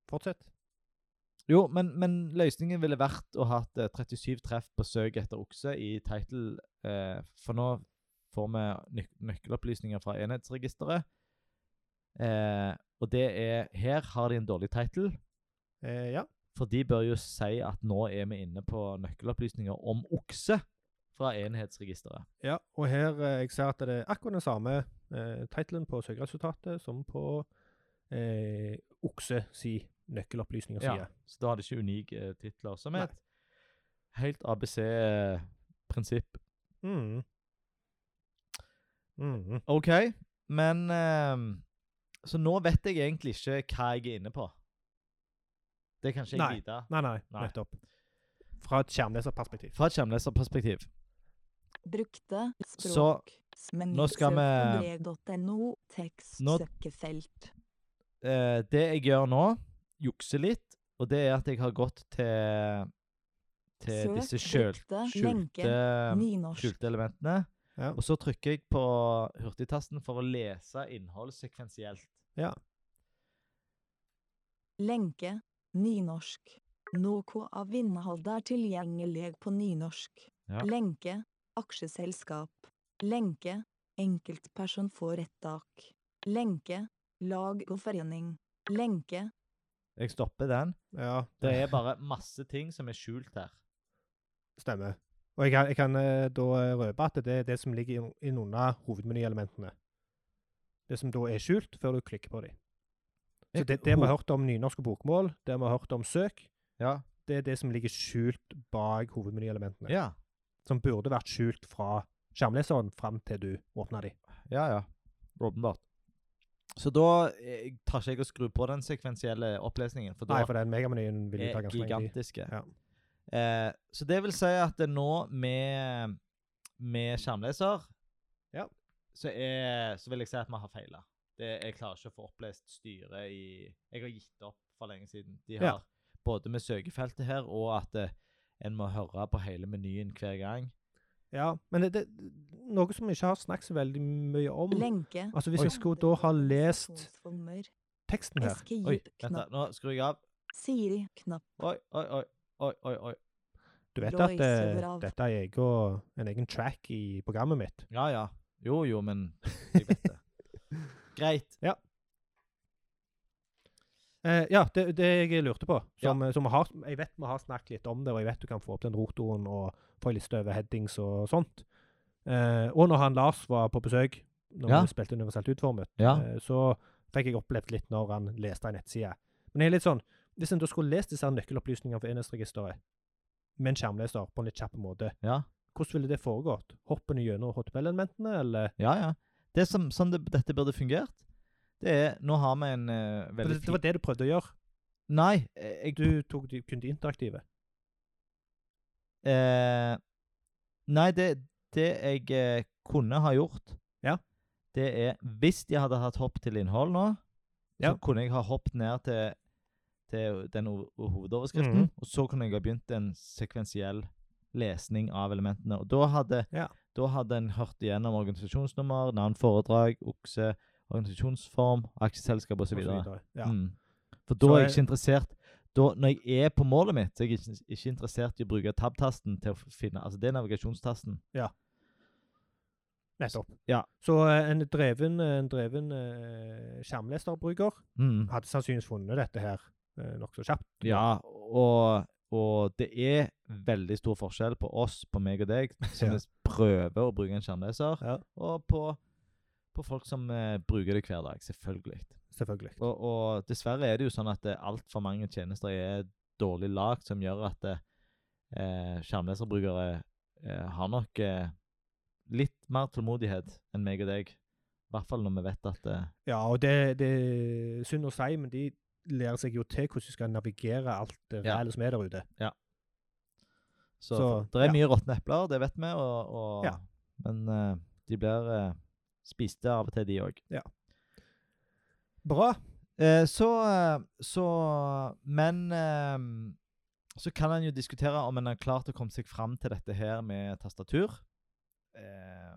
Speaker 1: Fortsett.
Speaker 2: Jo, men, men løsningen ville vært å ha hatt eh, 37 treff på søk etter okse i title, eh, for nå får vi nøk nøkkelopplysninger fra enhetsregisteret. Eh, og det er Her har de en dårlig title,
Speaker 1: Eh, ja.
Speaker 2: for de bør jo si at nå er vi inne på nøkkelopplysninger om okse fra enhetsregisteret.
Speaker 1: ja. Og her eh, jeg ser at det er akkurat den samme eh, titlen på søkeresultatet som på eh, okse si nøkkelopplysninger
Speaker 2: Ja,
Speaker 1: side.
Speaker 2: så da er det ikke unike eh, titler, som
Speaker 1: Nei.
Speaker 2: er et helt eh, ABC-prinsipp.
Speaker 1: Mm. Mm.
Speaker 2: OK, men ehm, Så nå vet jeg egentlig ikke hva jeg er inne på. Det kan ikke jeg
Speaker 1: Nei.
Speaker 2: vite.
Speaker 1: Nei, nei,
Speaker 2: Nei.
Speaker 1: nettopp. Fra et skjermleserperspektiv.
Speaker 2: Fra et skjermleserperspektiv.
Speaker 3: Brukte
Speaker 2: Så,
Speaker 3: språk. Men
Speaker 2: nå skal vi-
Speaker 3: Brev.no. Tekst.
Speaker 2: Nå-
Speaker 3: Søkefelt.
Speaker 2: Eh, det jeg gjør nå, jukser litt, og det er at jeg har gått til til
Speaker 3: Søk,
Speaker 2: disse skjøl-
Speaker 3: brukte, lenke,
Speaker 2: skjulte ehm,
Speaker 3: Nynorsk.
Speaker 2: skjulte elementene.
Speaker 1: Ja.
Speaker 2: Og så trykker jeg på hurtigtasten for å lese innhold sekvensielt.
Speaker 3: Lenke. Nynorsk. Noe av innholdet er tilgjengelig på nynorsk.
Speaker 2: Ja.
Speaker 3: Lenke. Aksjeselskap. Lenke. Enkeltperson får rettak. Lenke. Lag og forening. Lenke.
Speaker 2: Jeg stopper den.
Speaker 1: Ja,
Speaker 2: Det er bare masse ting som er skjult her.
Speaker 1: stemmer. Og jeg kan, jeg kan eh, da eh, røpe at det er det som ligger inn- innunder hovedmenyelementene. Det som da er skjult, før du klikker på dem. Så det, det vi har hørt om nynorsk og bokmål, det vi har hørt om søk,
Speaker 2: Ja.
Speaker 1: det er det som ligger skjult bak hovedmenyelementene.
Speaker 2: Ja,
Speaker 1: Som burde vært skjult fra skjermleseren fram til du åpner dem.
Speaker 2: ja. ja. Åpenbart. Så da eh, tar ikke jeg og skrur på den sekvensielle opplesningen, for da
Speaker 1: Nei, for den megamenyen vil jo ta
Speaker 2: er
Speaker 1: ganske lenge tid.
Speaker 2: gigantiske.
Speaker 1: Ja.
Speaker 2: Eh, så det vil si at det nå med, med skjermleser
Speaker 1: Ja.
Speaker 2: så, er, så vil jeg si at vi har feila. Jeg klarer ikke å få opplest styret i Jeg har gitt opp for lenge siden. De har
Speaker 1: Ja.
Speaker 2: både med søkefeltet her og at eh, en må høre på hele menyen hver gang.
Speaker 1: Ja, men det, det, noe som vi ikke har snakket så veldig mye om
Speaker 3: Lenke.
Speaker 1: Altså, hvis
Speaker 2: Oi.
Speaker 1: jeg skulle da ha lest
Speaker 3: Organisasjonsformer.
Speaker 1: teksten her
Speaker 2: Oi, vent da,
Speaker 3: Escape-knapp.
Speaker 2: nå skrur jeg av.
Speaker 3: Siri. Knapp.
Speaker 2: Oi, oi, oi. Oi, oi, oi.
Speaker 1: Du vet at eh,
Speaker 3: Royce overalt.
Speaker 1: dette er egen, en egen track i programmet mitt.
Speaker 2: Ja, ja. Jo, jo, men jeg vet det. Greit.
Speaker 1: Eh, ja, det, det jeg lurte på som, eh, som vi har, Jeg vet vi har snakket litt om det, og jeg vet du kan få opp den rotoren og få en liste over headings og sånt. Eh, og når han Lars var på besøk, når
Speaker 2: Ja.
Speaker 1: vi spilte universelt utformet,
Speaker 2: Ja.
Speaker 1: eh, så fikk jeg opplevd litt når han leste en nettside. Men jeg er litt sånn Hvis en da skulle lest disse her nøkkelopplysningene for enhetsregisteret med en skjermleser på en litt kjapp måte,
Speaker 2: Ja.
Speaker 1: hvordan ville det foregått? Hopper en gjennom HTML-elementene, eller
Speaker 2: Ja, ja. Det som, sånn det, dette burde fungert, det er Nå har vi en eh,
Speaker 1: For
Speaker 2: veldig
Speaker 1: det, det var
Speaker 2: fin
Speaker 1: det du prøvde å gjøre.
Speaker 2: Nei, eh, jeg
Speaker 1: Du tok de, kun de interaktive.
Speaker 2: eh, Nei, det, det jeg eh, kunne ha gjort,
Speaker 1: Ja.
Speaker 2: det er Hvis jeg hadde hatt hopp til innhold nå,
Speaker 1: Ja.
Speaker 2: så kunne jeg ha hoppet ned til, til den o- o- hovedoverskriften,
Speaker 1: Mhm.
Speaker 2: og så kunne jeg ha begynt en sekvensiell lesning av elementene. Og da hadde,
Speaker 1: Ja.
Speaker 2: da hadde en hørt igjennom organisasjonsnummer, navn, foredrag, okse, organisasjonsform, aksjeselskap
Speaker 1: og så
Speaker 2: osv.
Speaker 1: videre. Ja.
Speaker 2: Mm. For
Speaker 1: Så
Speaker 2: da er jeg
Speaker 1: jeg-
Speaker 2: ikke interessert da, Når jeg er på målet mitt, så er jeg ikke, ikke interessert i å bruke tab-tasten til å f- finne Altså, det er navigasjonstasten.
Speaker 1: Nettopp.
Speaker 2: Ja.
Speaker 1: Så eh, en dreven, en dreven eh, skjermleserbruker
Speaker 2: Mm.
Speaker 1: hadde sannsynligvis funnet dette her eh, nokså kjapt.
Speaker 2: Ja, og, og det er veldig stor forskjell på oss, på meg og deg, som
Speaker 1: Ja.
Speaker 2: prøver å bruke en skjermleser,
Speaker 1: Ja.
Speaker 2: og på, på folk som eh, bruker det hver dag. Selvfølgelig.
Speaker 1: Selvfølgelig.
Speaker 2: Og, og dessverre er det jo sånn at eh, altfor mange tjenester er dårlig lagd, som gjør at eh, eh, skjermleserbrukere eh, har nok eh, litt mer tålmodighet enn meg og deg. I hvert fall når vi vet at eh,
Speaker 1: Ja, og det, det er synd å si, men de lærer seg jo til hvordan de skal navigere alt det
Speaker 2: Ja.
Speaker 1: reelle som er der ute.
Speaker 2: Så,
Speaker 1: Så,
Speaker 2: det er
Speaker 1: ja.
Speaker 2: mye råtne epler, det vet vi, og, og,
Speaker 1: Ja.
Speaker 2: men eh, de blir eh, spiste av og til, de òg.
Speaker 1: Bra.
Speaker 2: Eh, så, eh, så Men eh, så kan en jo diskutere om en har klart å komme seg fram til dette her med tastatur. Eh,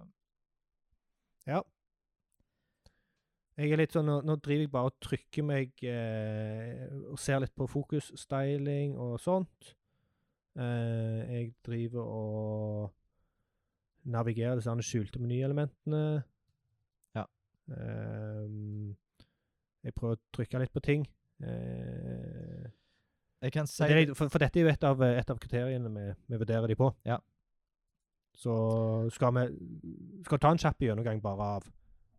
Speaker 1: Jeg er litt sånn, nå, nå driver jeg bare og trykker meg eh, og ser litt på fokus, styling og sånt. Eh, jeg driver og navigerer disse her skjulte menyelementene.
Speaker 2: Ja.
Speaker 1: Ehm, jeg prøver å trykke litt på ting. Eh,
Speaker 2: jeg kan si
Speaker 1: det er, litt- for, for dette er jo et av, et av kriteriene vi, vi vurderer de på.
Speaker 2: Ja.
Speaker 1: Så skal vi skal ta en kjapp gjennomgang bare av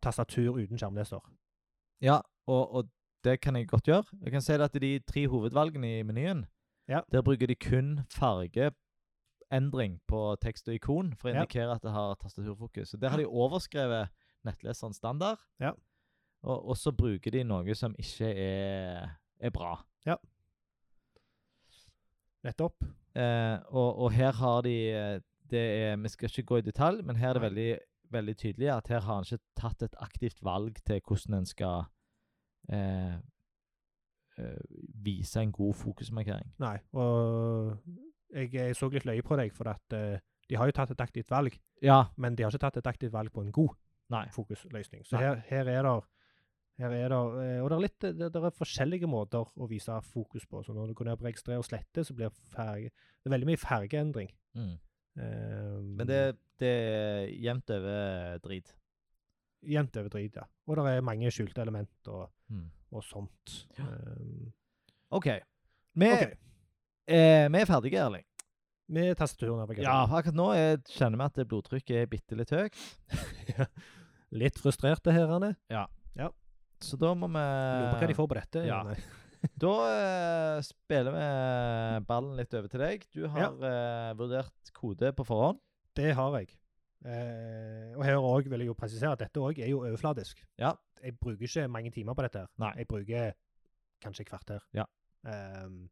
Speaker 1: tastatur uten skjermleser.
Speaker 2: Ja, og, og det kan jeg godt gjøre. Jeg kan si det at de tre hovedvalgene i menyen,
Speaker 1: Ja.
Speaker 2: der bruker de kun fargeendring på tekst og ikon for å
Speaker 1: Ja.
Speaker 2: indikere at det har tastaturfokus. Så Der har de overskrevet nettleseren standard,
Speaker 1: Ja.
Speaker 2: og, og så bruker de noe som ikke er, er bra.
Speaker 1: Nettopp.
Speaker 2: Eh, og, og her har de eh, det er, Vi skal ikke gå i detalj, men her er det
Speaker 1: Nei.
Speaker 2: veldig, veldig tydelig at her har han ikke tatt et aktivt valg til hvordan en skal eh, eh, vise en god fokusmarkering.
Speaker 1: Nei, og jeg, jeg så litt løye på deg, for at eh, de har jo tatt et aktivt valg,
Speaker 2: Ja,
Speaker 1: men de har ikke tatt et aktivt valg på en god
Speaker 2: nei.
Speaker 1: fokusløsning. Så
Speaker 2: Nei.
Speaker 1: her, her er det her er der, eh, og det er, litt, det, det er forskjellige måter å vise fokus på. Så når du går ned på registrere og slette, så blir farge, det er veldig mye fargeendring.
Speaker 2: Mm.
Speaker 1: Um,
Speaker 2: Men det, det er jevnt over drit.
Speaker 1: Jevnt over drit, ja. Og det er mange skjulte element og,
Speaker 2: Mm.
Speaker 1: og sånt.
Speaker 2: Ja.
Speaker 1: Um,
Speaker 2: OK. Vi,
Speaker 1: OK.
Speaker 2: eh, vi er ferdige, Erling.
Speaker 1: Med tastaturnavigatør.
Speaker 2: Ja, akkurat nå er, kjenner vi at det blodtrykket er bitte litt høyt.
Speaker 1: Litt frustrerte herrene.
Speaker 2: Så da må vi
Speaker 1: Lurer på hva de får på dette.
Speaker 2: Eh. ja.
Speaker 1: Nei.
Speaker 2: Da eh, spiller vi ballen litt over til deg. Du har eh, vurdert kode på forhånd.
Speaker 1: Det har jeg. Eh, og her òg vil jeg jo presisere at dette òg er jo overfladisk.
Speaker 2: Ja.
Speaker 1: Jeg bruker ikke mange timer på dette. her.
Speaker 2: Nei.
Speaker 1: Jeg bruker kanskje et kvarter.
Speaker 2: Ja.
Speaker 1: Ehm,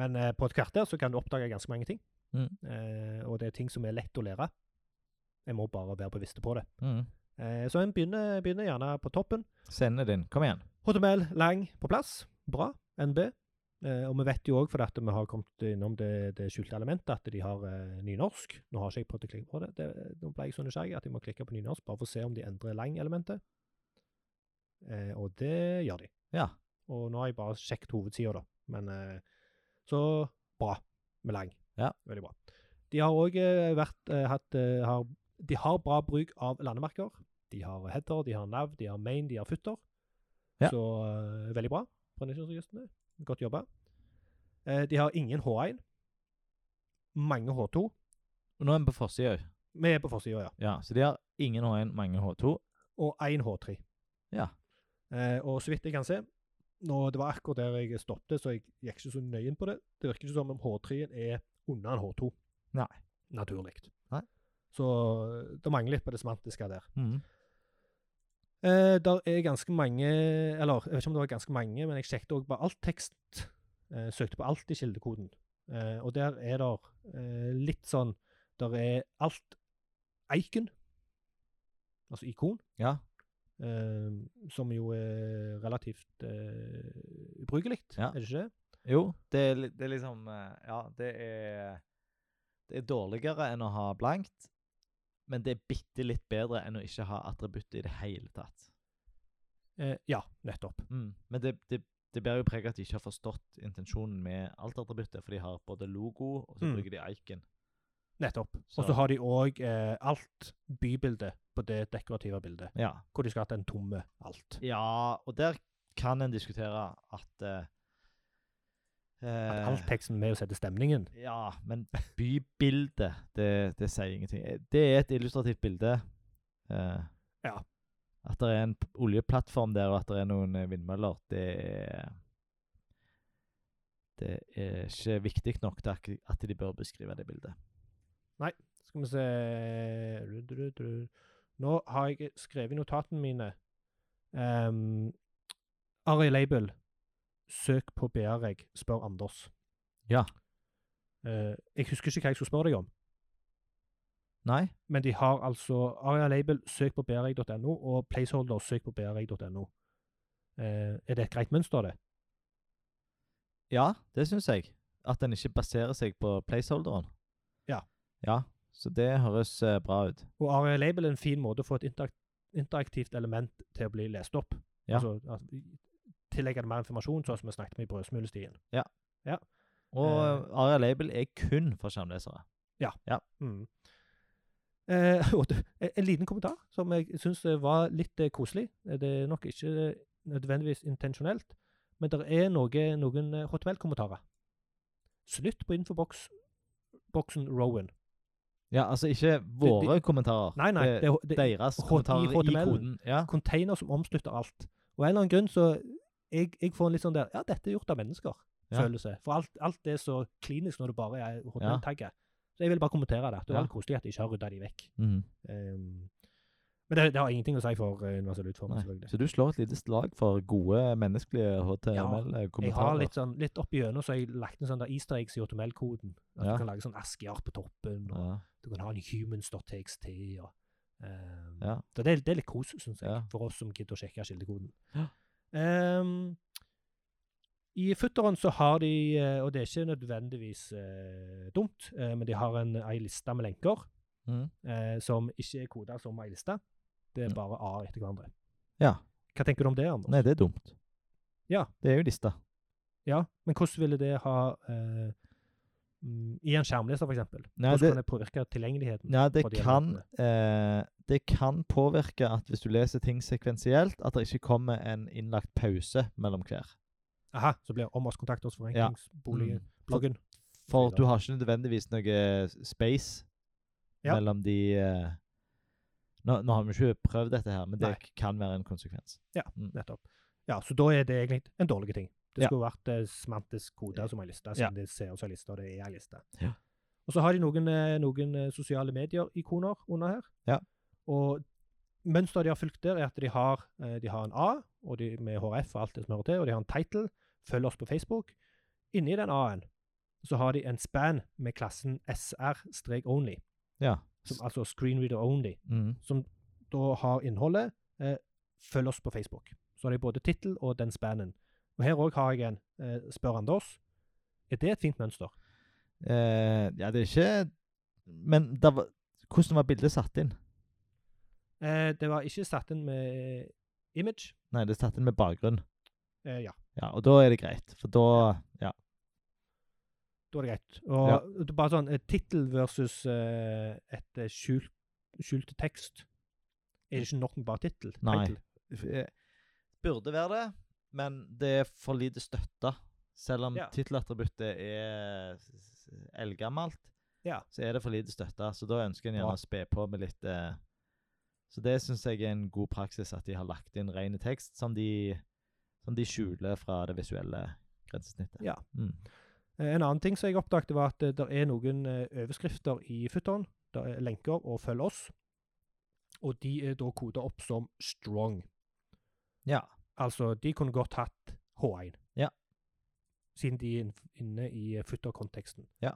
Speaker 1: men eh, på et kvarter så kan du oppdage ganske mange ting.
Speaker 2: Mm.
Speaker 1: Eh, og det er ting som er lett å lære. Jeg må bare være bevisst på det.
Speaker 2: Mm.
Speaker 1: Eh, så en begynner, begynner gjerne på toppen.
Speaker 2: Sende din. Kom igjen.
Speaker 1: HTML lang på plass. Bra. NB. Eh, og vi vet jo òg, fordi at vi har kommet innom det, det skjulte elementet, at de har eh, nynorsk. Nå har ikke jeg prøvd å klikke på det. det nå ble jeg så nysgjerrig at jeg må klikke på nynorsk bare for å se om de endrer lang-elementet. Eh, og det gjør de.
Speaker 2: Ja.
Speaker 1: Og nå har jeg bare sjekket hovedsida, da. Men eh, så bra med lang.
Speaker 2: Ja.
Speaker 1: Veldig bra. De har òg eh, vært eh, hatt eh, har, De har bra bruk av landemerker. De har header, de har nav, de har main, de har futter.
Speaker 2: Ja.
Speaker 1: Så eh, veldig bra. Brønnøysundregistrene. Godt jobba. Eh, de har ingen H1. Mange H2.
Speaker 2: Og nå er vi på forsida òg.
Speaker 1: Vi er på forsida, ja.
Speaker 2: Ja, så de har ingen H1, mange H2.
Speaker 1: Og én H3.
Speaker 2: Ja.
Speaker 1: Eh, og så vidt jeg kan se nå, Det var akkurat der jeg stoppet, så jeg gikk ikke så nøye inn på det. Det virker ikke som om H3-en er under en H2.
Speaker 2: Nei.
Speaker 1: Naturlig.
Speaker 2: Nei.
Speaker 1: Så eh, det mangler litt på det semantiske der.
Speaker 2: Mhm.
Speaker 1: Eh, der er ganske mange Eller jeg vet ikke om det var ganske mange, men jeg sjekket òg på alt tekst. Eh, søkte på alt i kildekoden. Eh, og der er det eh, litt sånn Der er alt icon, altså ikon,
Speaker 2: Ja.
Speaker 1: eh, som jo er relativt eh, ubrukelig,
Speaker 2: Ja.
Speaker 1: er det ikke det?
Speaker 2: Jo, det er, li- det er liksom eh, Ja, det er Det er dårligere enn å ha blankt, men det er bitte litt bedre enn å ikke ha attributt i det hele tatt.
Speaker 1: Eh, ja, nettopp.
Speaker 2: Mm. Men det, det, det bærer jo preg av at de ikke har forstått intensjonen med alt attributtet, for de har både logo, og så
Speaker 1: Mm.
Speaker 2: bruker de icon.
Speaker 1: Nettopp.
Speaker 2: Så-
Speaker 1: Og så har de òg eh, alt bybildet på det dekorative bildet,
Speaker 2: Ja.
Speaker 1: hvor de skal ha den tomme alt.
Speaker 2: ja, og der kan en diskutere at eh,
Speaker 1: At
Speaker 2: eh,
Speaker 1: all teksten er med å sette stemningen.
Speaker 2: Ja, men bybildet, det, det sier ingenting. Eh, Det er et illustrativt bilde. eh,
Speaker 1: Ja.
Speaker 2: At det er en p- oljeplattform der, og at det er noen eh, vindmøller, det er Det er ikke viktig nok til at- at de bør beskrive det bildet.
Speaker 1: Skal vi se du, du, du, du. Nå har jeg skrevet i notatene mine um, Ari Label, søk på BR-reg, spør Anders.
Speaker 2: Ja.
Speaker 1: Eh, jeg husker ikke hva jeg skulle spørre deg om,
Speaker 2: Nei?
Speaker 1: men de har altså Aria Label, søk på breg.no, og placeholder, søk på breg.no. Eh, er det et greit mønster, det?
Speaker 2: Ja, det syns jeg. At den ikke baserer seg på placeholderen.
Speaker 1: Ja.
Speaker 2: Ja, Så det høres eh, bra ut.
Speaker 1: Og Aria Label er en fin måte å få et interak interaktivt element til å bli lest opp.
Speaker 2: Ja.
Speaker 1: Altså, at, tillegge det mer informasjon, sånn som vi snakket om i brødsmulestien.
Speaker 2: Og eh, Aria Label er kun for skjermlesere.
Speaker 1: Mm. Eh, og det- en- en liten kommentar som jeg syns var litt eh, koselig. Eh, Det er nok ikke eh, nødvendigvis intensjonelt, men det er noe, noen eh, HTML-kommentarer. Slutt på infoboks boksen Rowan.
Speaker 2: Ja, altså ikke våre kommentarer.
Speaker 1: Nei, nei, det, er- det er
Speaker 2: deres
Speaker 1: H- i
Speaker 2: kommentarer i
Speaker 1: HTML.
Speaker 2: koden. Ja.
Speaker 1: container som omslutter alt. Og av en eller annen grunn så jeg, jeg får en litt sånn der Ja, dette er gjort av mennesker.
Speaker 2: Ja.
Speaker 1: Følelse. For alt, alt er så klinisk når det bare er HTML-tagget. Så jeg vil bare kommentere det. at Det var
Speaker 2: Ja.
Speaker 1: litt koselig at de ikke har rydda de vekk.
Speaker 2: Mhm.
Speaker 1: Ehm, men det, det har ingenting å si for eh, universell utforming,
Speaker 2: Nei.
Speaker 1: selvfølgelig.
Speaker 2: Så du slår et lite slag for gode menneskelige
Speaker 1: Jeg har
Speaker 2: HTML-kommentarer?
Speaker 1: litt, sånn, litt opp igjennom, så har jeg lagt en sånn der easter eggs i HTML-koden. At
Speaker 2: Ja.
Speaker 1: du kan lage sånn askeark på toppen, og
Speaker 2: ja.
Speaker 1: du kan ha en humans.txt. og ehm,
Speaker 2: Ja.
Speaker 1: Så det, er- det er litt kos, syns jeg,
Speaker 2: Ja.
Speaker 1: for oss som gidder å sjekke kildekoden.
Speaker 2: Ja.
Speaker 1: Ehm, I futteren så har de, eh, og det er ikke nødvendigvis eh, dumt, eh, men de har en, ei liste med lenker
Speaker 2: Mhm.
Speaker 1: eh, som ikke er koda som ei liste. Det er
Speaker 2: Ja.
Speaker 1: bare A-er etter hverandre.
Speaker 2: Ja.
Speaker 1: Hva tenker du om det, Anders?
Speaker 2: Nei, det er dumt.
Speaker 1: Ja.
Speaker 2: Det er jo lista.
Speaker 1: Ja, men hvordan ville det ha eh, mm, I en skjermleser, for eksempel.
Speaker 2: Nei,
Speaker 1: Hvordan
Speaker 2: det,
Speaker 1: kan det påvirke tilgjengeligheten?
Speaker 2: nei, det
Speaker 1: på de
Speaker 2: kan eh, Det kan påvirke at hvis du leser ting sekvensielt, at det ikke kommer en innlagt pause mellom hver.
Speaker 1: Aha, så blir om oss kontakt oss forenklingsboligen.
Speaker 2: Mm.
Speaker 1: Bloggen.
Speaker 2: For du har ikke nødvendigvis noe space
Speaker 1: Ja.
Speaker 2: mellom de eh, nå, nå har vi ikke prøvd dette her, men det
Speaker 1: Nei.
Speaker 2: kan være en konsekvens.
Speaker 1: Nettopp. Ja, så da er det egentlig en dårlig ting. Det
Speaker 2: Ja.
Speaker 1: skulle vært eh, semantisk kode som ei liste, siden
Speaker 2: Ja.
Speaker 1: det ser ut som ei liste, og det er ei liste.
Speaker 2: Ja.
Speaker 1: Og så har de noen, eh, noen eh, sosiale medier-ikoner under her.
Speaker 2: Ja.
Speaker 1: Og mønsteret de har fulgt der, er at de har, eh, de har en A og de, med HRF og alt det som hører til, og de har en title. Følg oss på Facebook. Inni den A-en så har de en span med klassen SR-only,
Speaker 2: Ja.
Speaker 1: som altså screenreader only
Speaker 2: Mm.
Speaker 1: som da har innholdet, eh, følg oss på Facebook. Så har de både tittel og den spannen. Og her òg har jeg en. Eh, spør Anders. Er det et fint mønster?
Speaker 2: Eh, ja, det er ikke Men det var, hvordan var bildet satt inn?
Speaker 1: Eh, det var ikke satt inn med eh, image.
Speaker 2: Nei, det er satt inn med bakgrunn.
Speaker 1: Eh, ja,
Speaker 2: Ja, Og da er det greit. For da Ja.
Speaker 1: da er det greit. Og det er bare sånn eh, tittel versus eh, et eh, skjult, skjult tekst. Er det ikke nok med bare tittel?
Speaker 2: Nei.
Speaker 1: Title?
Speaker 2: Eh, Burde være det, men det er for lite støtte. Selv om
Speaker 1: Ja.
Speaker 2: tittelattributtet er s- s- eldgammelt,
Speaker 1: Ja.
Speaker 2: så er det for lite støtte. Så da ønsker en
Speaker 1: Bra.
Speaker 2: gjerne å spe på med litt eh, Så det syns jeg er en god praksis, at de har lagt inn ren tekst som de, som de skjuler fra det visuelle grensesnittet.
Speaker 1: Ja.
Speaker 2: Mm.
Speaker 1: Eh, En annen ting som jeg oppdaget, var at det er noen eh, overskrifter i futteren. Det er lenker og 'følg oss', og de er da kodet opp som 'strong'.
Speaker 2: Ja.
Speaker 1: Altså, de kunne godt hatt H1.
Speaker 2: Ja.
Speaker 1: Siden de er inn- inne i futter-konteksten.
Speaker 2: Ja.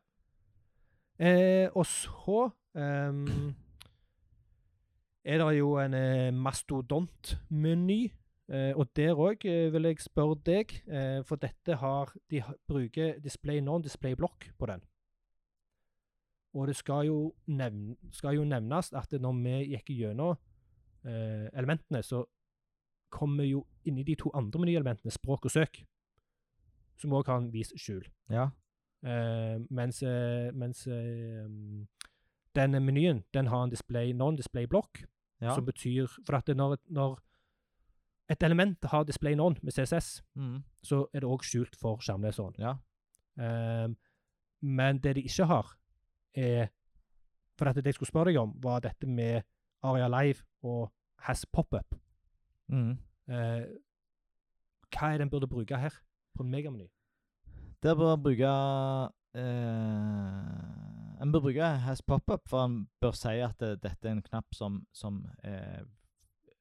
Speaker 1: Eh, og så ehm, er det jo en eh, mastodont-meny. Eh, og der òg eh, vil jeg spørre deg, eh, for dette har De ha- bruker display non, display block på den. Og det skal jo, nevn, skal jo nevnes at når vi gikk gjennom eh, elementene, så kommer jo inni de to andre menyelementene, språk og søk, som òg har en vis skjul.
Speaker 2: ja.
Speaker 1: Eh, mens eh, mens eh, um, denne menyen den har en display, non-display blokk,
Speaker 2: ja.
Speaker 1: som betyr For at det når, når et element har display non med CSS,
Speaker 2: mm.
Speaker 1: så er det òg skjult for skjermleseren.
Speaker 2: ja.
Speaker 1: Eh, men det de ikke har, er For at det jeg skulle spørre deg om, var dette med Aria Live og Has Pop-Up.
Speaker 2: Mm.
Speaker 1: Eh, hva er det en burde bruke her, på en megameny?
Speaker 2: Der bør han bruke eh, En bør bruke has pop-up, for han bør si at eh, dette er en knapp som, som eh,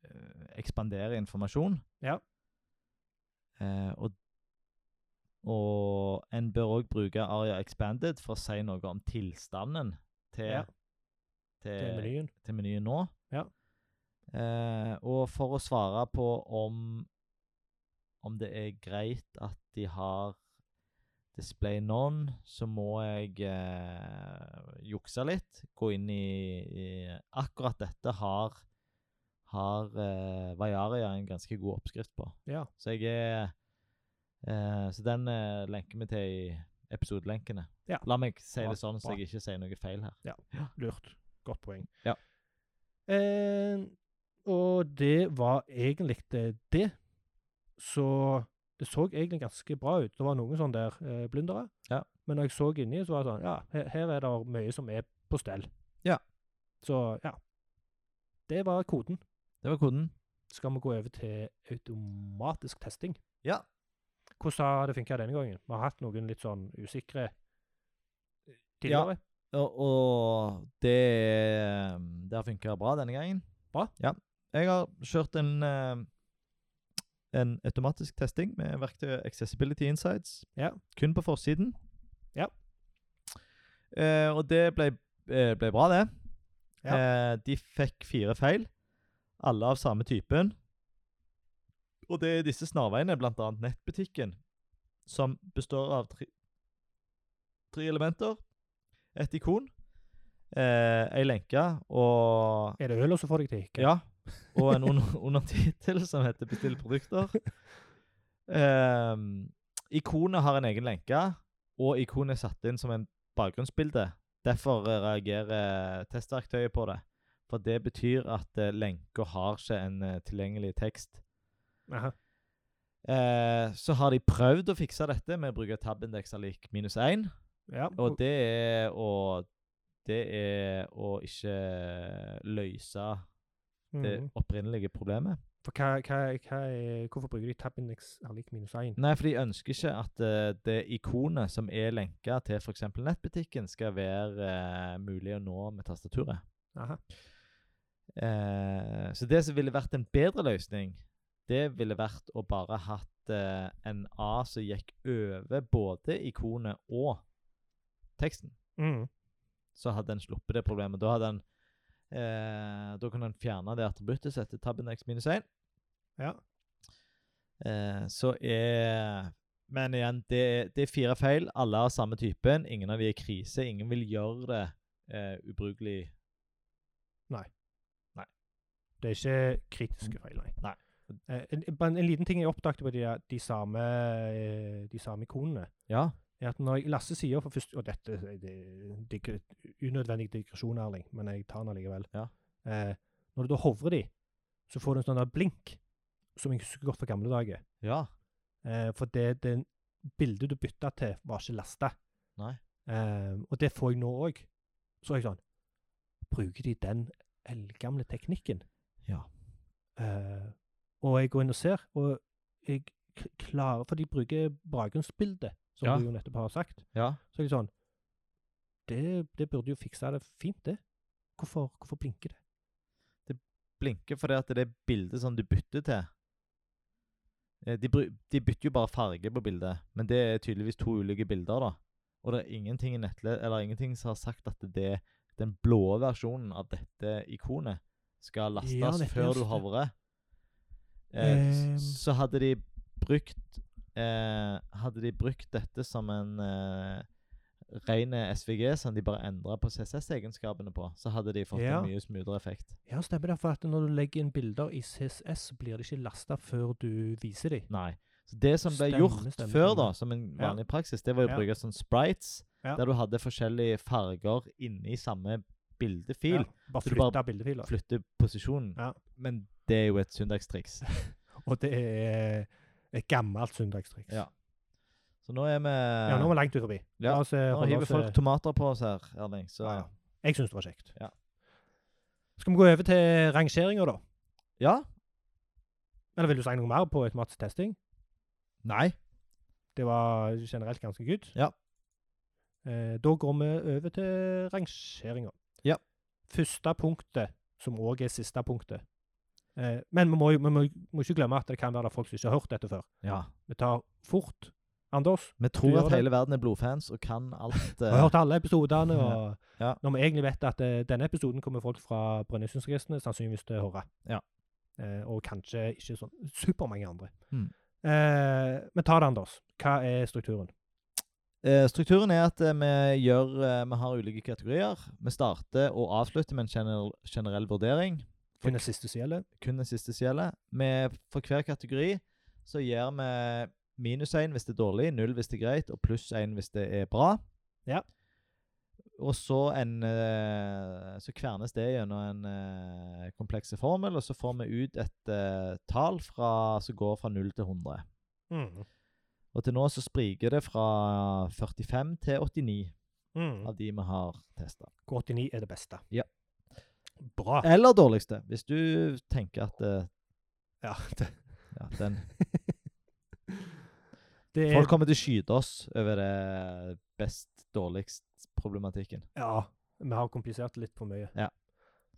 Speaker 2: eh, ekspanderer informasjon.
Speaker 1: Ja.
Speaker 2: Eh, og, og en bør òg bruke aria expanded for å si noe om tilstanden til,
Speaker 1: Ja. Til
Speaker 2: til,
Speaker 1: menyen?
Speaker 2: til menyen nå.
Speaker 1: Ja.
Speaker 2: Eh, og for å svare på om, om det er greit at de har display non, så må jeg eh, jukse litt. Gå inn i, i Akkurat dette har, har eh, Vajaria en ganske god oppskrift på.
Speaker 1: Ja.
Speaker 2: Så jeg er eh, Så den eh, lenker vi til i episodelenkene.
Speaker 1: Ja.
Speaker 2: La meg si
Speaker 1: Bra,
Speaker 2: det sånn, så
Speaker 1: bra.
Speaker 2: jeg ikke sier noe feil her.
Speaker 1: Lurt. Godt poeng.
Speaker 2: Ja.
Speaker 1: Eh, og det var egentlig det. det. Så det så egentlig ganske bra ut. Det var noen sånne der eh, blundere.
Speaker 2: Ja.
Speaker 1: Men når jeg så inni, så var det sånn Ja, her, her er det mye som er på stell.
Speaker 2: Ja.
Speaker 1: Så ja. Det var koden.
Speaker 2: Det var koden.
Speaker 1: Skal vi gå over til automatisk testing?
Speaker 2: Ja.
Speaker 1: Hvordan har det funka denne gangen? Vi har hatt noen litt sånn usikre eh, tidligere.
Speaker 2: Og, og det, eh, det har funka bra denne gangen.
Speaker 1: Bra.
Speaker 2: Ja. Jeg har kjørt en, eh, en automatisk testing med verktøyet Accessibility Insights.
Speaker 1: Ja.
Speaker 2: Kun på forsiden.
Speaker 1: Ja.
Speaker 2: Eh, og det ble, eh, ble bra, det.
Speaker 1: Ja.
Speaker 2: Eh, de fikk fire feil, alle av samme typen. Og det er disse snarveiene, bl.a. nettbutikken, som består av tre, tre elementer. Et ikon, eh, ei lenke og
Speaker 1: Er det øla som får deg til å hikke?
Speaker 2: ja. Og en un undertittel som heter 'Bestill produkter'. Ehm, ikonet har en egen lenke, og ikonet er satt inn som en bakgrunnsbilde. Derfor eh, reagerer testverktøyet på det. For det betyr at eh, lenka har ikke en eh, tilgjengelig tekst.
Speaker 1: Aha.
Speaker 2: Eh, så har de prøvd å fikse dette med å bruke tabindekser lik minus 1.
Speaker 1: Ja.
Speaker 2: Og det er å Det er å ikke løse det
Speaker 1: Mhm.
Speaker 2: opprinnelige problemet.
Speaker 1: For hva, hva, hva er, hvorfor bruker de tab index er lik minus 1?
Speaker 2: Nei, for de ønsker ikke at eh, det ikonet som er lenka til f.eks. nettbutikken, skal være eh, mulig å nå med tastaturet.
Speaker 1: Aha.
Speaker 2: Eh, så det som ville vært en bedre løsning, det ville vært å bare hatt eh, en A som gikk over både ikonet og teksten.
Speaker 1: Mm.
Speaker 2: Så hadde en sluppet det problemet. Da hadde en eh, da kunne en fjerne det attributtet som heter tabben x minus 1.
Speaker 1: Ja.
Speaker 2: Eh, så er Men igjen, det, det er fire feil. Alle har samme typen. Ingen av de er krise. Ingen vil gjøre det eh, ubrukelig.
Speaker 1: Det er ikke kritiske feil, nei.
Speaker 2: Nei.
Speaker 1: Eh, en, bare en liten ting jeg oppdaget på de, der- de, samme, eh, de samme ikonene,
Speaker 2: Ja.
Speaker 1: er at når jeg, Lasse sier for først, Og dette er det- digre- unødvendig digresjon, Erling, men jeg tar den allikevel.
Speaker 2: Ja.
Speaker 1: Eh, når du da hovrer de, så får du en sånn der blink, som jeg husker godt fra gamle dager.
Speaker 2: Ja.
Speaker 1: Eh, for det, det bildet du bytta til, var ikke lasta.
Speaker 2: Nei.
Speaker 1: Eh, og det får jeg nå òg. Så er jeg sånn Bruker de den eldgamle teknikken?
Speaker 2: Ja.
Speaker 1: Eh, og jeg går inn og ser, og jeg k- klarer For de bruker bakgrunnsbildet, som
Speaker 2: Ja.
Speaker 1: du jo nettopp har sagt.
Speaker 2: ja.
Speaker 1: Så er jeg sånn Det, det burde jo fikse det fint, det. Hvorfor, hvorfor blinker det?
Speaker 2: blinker fordi at det er bildet som du bytter til. Eh, De, bru- de bytter jo bare farge på bildet, men det er tydeligvis to ulike bilder. da. Og det er ingenting i nettle, eller ingenting som har sagt at det den blå versjonen av dette ikonet skal lastes
Speaker 1: Ja, nettopp,
Speaker 2: før du
Speaker 1: ja.
Speaker 2: hovrer. Eh, s-
Speaker 1: Ehm.
Speaker 2: Så hadde de brukt eh, Hadde de brukt dette som en eh, rene SVG, som de bare endra på CSS-egenskapene på, så hadde de fått
Speaker 1: Ja.
Speaker 2: en mye smoothere effekt.
Speaker 1: Ja, stemmer det. For at når du legger inn bilder i CSS, så blir de ikke lasta før du viser dem.
Speaker 2: Nei. Så det som ble
Speaker 1: Stemmer,
Speaker 2: gjort
Speaker 1: stemmer,
Speaker 2: før,
Speaker 1: stemmer.
Speaker 2: da, som en
Speaker 1: Ja.
Speaker 2: vanlig praksis, det var jo å
Speaker 1: Ja.
Speaker 2: bruke sånn sprites,
Speaker 1: Ja.
Speaker 2: der du hadde forskjellige farger inni samme bildefil.
Speaker 1: Ja, bare
Speaker 2: Så du bare
Speaker 1: flytta bildefiler.
Speaker 2: Flytte posisjonen.
Speaker 1: Ja.
Speaker 2: Men det er jo et søndagstriks.
Speaker 1: Og det er et gammelt søndagstriks.
Speaker 2: Ja. Så nå er vi
Speaker 1: Ja, nå er vi langt ut forbi.
Speaker 2: Ja,
Speaker 1: La oss, eh,
Speaker 2: Nå
Speaker 1: holde
Speaker 2: hiver
Speaker 1: oss,
Speaker 2: folk
Speaker 1: eh,
Speaker 2: tomater på oss her, Erling. Så
Speaker 1: ja, ja. Jeg syns det var kjekt.
Speaker 2: Ja.
Speaker 1: Skal vi gå over til rangeringer, da?
Speaker 2: Ja?
Speaker 1: Eller vil du si noe mer på automatisk testing?
Speaker 2: Nei.
Speaker 1: Det var generelt ganske good.
Speaker 2: Ja.
Speaker 1: Eh, da går vi over til rangeringer.
Speaker 2: Ja.
Speaker 1: Første punktet, som òg er siste punktet. Eh, men vi må, jo- vi må, må ikke glemme at det kan være det er folk som ikke har hørt dette før.
Speaker 2: Ja.
Speaker 1: Vi tar fort Anders,
Speaker 2: Vi
Speaker 1: Du
Speaker 2: tror
Speaker 1: gjør
Speaker 2: at
Speaker 1: det.
Speaker 2: hele verden er blodfans og kan alt.
Speaker 1: Vi har
Speaker 2: eh,
Speaker 1: hørt alle episodene, og
Speaker 2: Ja.
Speaker 1: når vi egentlig vet at eh, denne episoden kommer folk fra Brønnøysundregistrene sannsynligvis til å høre.
Speaker 2: Ja.
Speaker 1: Eh, og kanskje ikke sånn supermange andre.
Speaker 2: Mm.
Speaker 1: Eh, men ta det, Anders. Hva er strukturen?
Speaker 2: Eh, Strukturen er at eh, vi, gjør, eh, vi har ulike kategorier. Vi starter og avslutter med en generell, generell vurdering. For-
Speaker 1: Kun det siste som gjelder?
Speaker 2: kun den siste som gjelder. Vi- For hver kategori så gir vi minus 1 hvis det er dårlig, null hvis det er greit, og pluss 1 hvis det er bra.
Speaker 1: Ja.
Speaker 2: Og så, en, eh, så kvernes det gjennom en eh, komplekse formel, og så får vi ut et eh, tall fra, som går fra 0 til 100.
Speaker 1: Mm.
Speaker 2: Og til nå så spriker det fra 45 til 89
Speaker 1: Mm.
Speaker 2: av de vi har testa.
Speaker 1: Hvor 89 er det beste.
Speaker 2: Ja. Eh,
Speaker 1: Bra.
Speaker 2: Eller dårligste, hvis du tenker at eh,
Speaker 1: Ja, det,
Speaker 2: ja, den
Speaker 1: det er
Speaker 2: Folk kommer til å skyte oss over det best dårligst-problematikken.
Speaker 1: Ja, vi har komplisert det litt for mye.
Speaker 2: Ja.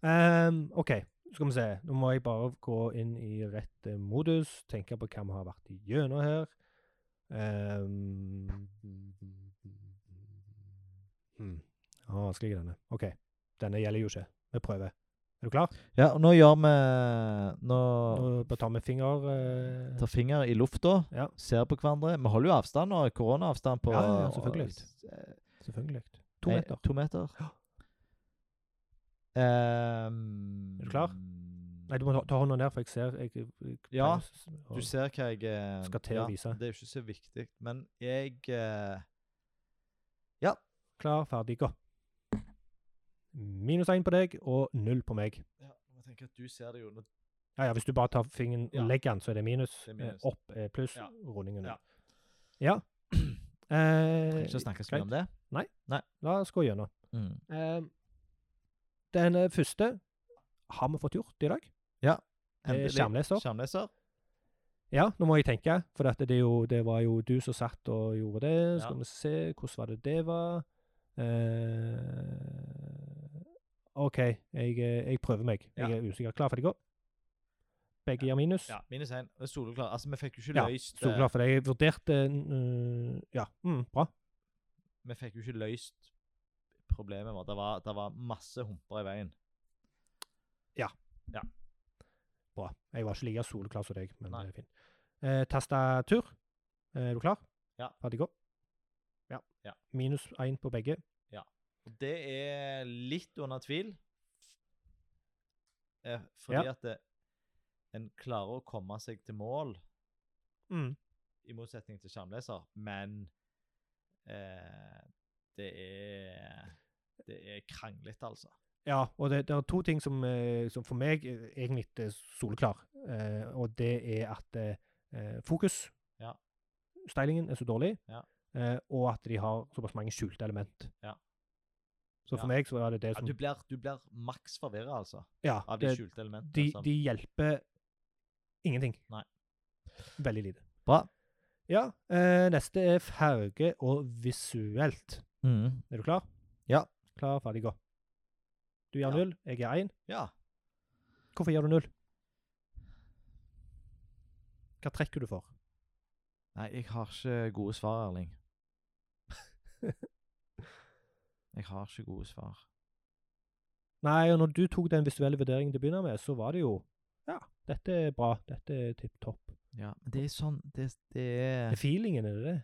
Speaker 1: Ehm, OK, skal vi se. Nå må jeg bare gå inn i rett eh, modus, tenke på hva vi har vært igjennom her. Ehm, hmm. Ja, vanskelig denne. OK, denne gjelder jo ikke. Vi prøver. Er du klar?
Speaker 2: Ja, og nå gjør vi Nå
Speaker 1: Nå bare tar vi finger eh,
Speaker 2: tar finger i lufta,
Speaker 1: Ja.
Speaker 2: ser på hverandre. Vi holder jo avstand og koronaavstand på
Speaker 1: Ja, ja, ja, selvfølgelig.
Speaker 2: eh,
Speaker 1: Selvfølgelig. To
Speaker 2: eh,
Speaker 1: meter.
Speaker 2: To meter. Ehm,
Speaker 1: Er du klar? Nei, du må ta, ta hånda ned, for jeg ser jeg, jeg,
Speaker 2: Ja,
Speaker 1: pleier å-
Speaker 2: Du ser hva jeg eh,
Speaker 1: Skal til å vise.
Speaker 2: Det er jo ikke så viktig, men jeg eh,
Speaker 1: Klar, ferdig, gå. Minus én på deg og null på meg.
Speaker 2: ja, Jeg tenker at du ser det jo når
Speaker 1: Ja, ja, hvis du bare tar fingeren og
Speaker 2: Ja.
Speaker 1: legger den, så er det minus.
Speaker 2: Det er minus.
Speaker 1: Eh, Opp er pluss.
Speaker 2: Ja.
Speaker 1: Rundingen
Speaker 2: Ja.
Speaker 1: ned. Ja. Eh,
Speaker 2: Trenger ikke å snakke så mye om det.
Speaker 1: la oss gå gjennom.
Speaker 2: Mm.
Speaker 1: Eh, den eh, første har vi fått gjort i dag. Eh,
Speaker 2: Endelig.
Speaker 1: skjermleser.
Speaker 2: Skjermleser.
Speaker 1: Ja, nå må jeg tenke, for dette, det, er jo, det var jo du som satt og gjorde det. Skal
Speaker 2: Ja.
Speaker 1: vi se, hvordan var det det var? Eh, OK, jeg, eh, jeg prøver meg.
Speaker 2: Ja.
Speaker 1: Jeg er usikker. Klar, ferdig, gå. Begge gir minus.
Speaker 2: Ja, minus én. Det er Soleklar. Altså, vi fikk jo ikke
Speaker 1: Ja,
Speaker 2: løst
Speaker 1: Sto
Speaker 2: eh,
Speaker 1: klar for det. Jeg vurderte mm, Ja, mm, bra.
Speaker 2: Vi fikk jo ikke løst problemet vårt. Det var, det var masse humper i veien.
Speaker 1: bra. Jeg var ikke like soleklar som deg, men
Speaker 2: Nei.
Speaker 1: det er fint. Eh, tastatur. Eh, er du klar?
Speaker 2: Ja.
Speaker 1: Ferdig, gå. Ja.
Speaker 2: Ja.
Speaker 1: Minus én på begge.
Speaker 2: Og det er litt under tvil. Eh, fordi at det, en klarer å komme seg til mål,
Speaker 1: Mm.
Speaker 2: i motsetning til skjermleser, men eh, det er Det er kranglete, altså.
Speaker 1: Ja, og det, det er to ting som, eh, som for meg eh, egentlig er soleklar. Eh, og det er at eh, eh, fokus,
Speaker 2: Ja.
Speaker 1: stylingen, er så dårlig,
Speaker 2: Ja.
Speaker 1: eh, og at de har såpass mange skjulte element.
Speaker 2: Ja.
Speaker 1: Så for
Speaker 2: Ja.
Speaker 1: meg så er det det
Speaker 2: Ja,
Speaker 1: som
Speaker 2: du blir, du blir maks forvirra, altså,
Speaker 1: Ja,
Speaker 2: av de
Speaker 1: det,
Speaker 2: skjulte elementene.
Speaker 1: de,
Speaker 2: som-
Speaker 1: de hjelper ingenting.
Speaker 2: Nei.
Speaker 1: Veldig lite.
Speaker 2: Bra.
Speaker 1: Ja, eh, neste er farge og visuelt.
Speaker 2: Mhm.
Speaker 1: Er du klar?
Speaker 2: Ja.
Speaker 1: Klar, ferdig, gå. Du gjør
Speaker 2: Ja.
Speaker 1: null, jeg gjør én.
Speaker 2: Ja.
Speaker 1: Hvorfor gjør du null? Hva trekker du for?
Speaker 2: Nei, jeg har ikke gode svar, Erling. jeg har ikke gode svar.
Speaker 1: Nei, og når du tok den visuelle vurderingen til å begynne med, så var det jo Ja, dette er bra. Dette er tipp topp.
Speaker 2: Ja, men det er sånn Det, det
Speaker 1: Det er
Speaker 2: er
Speaker 1: feelingen, er det det?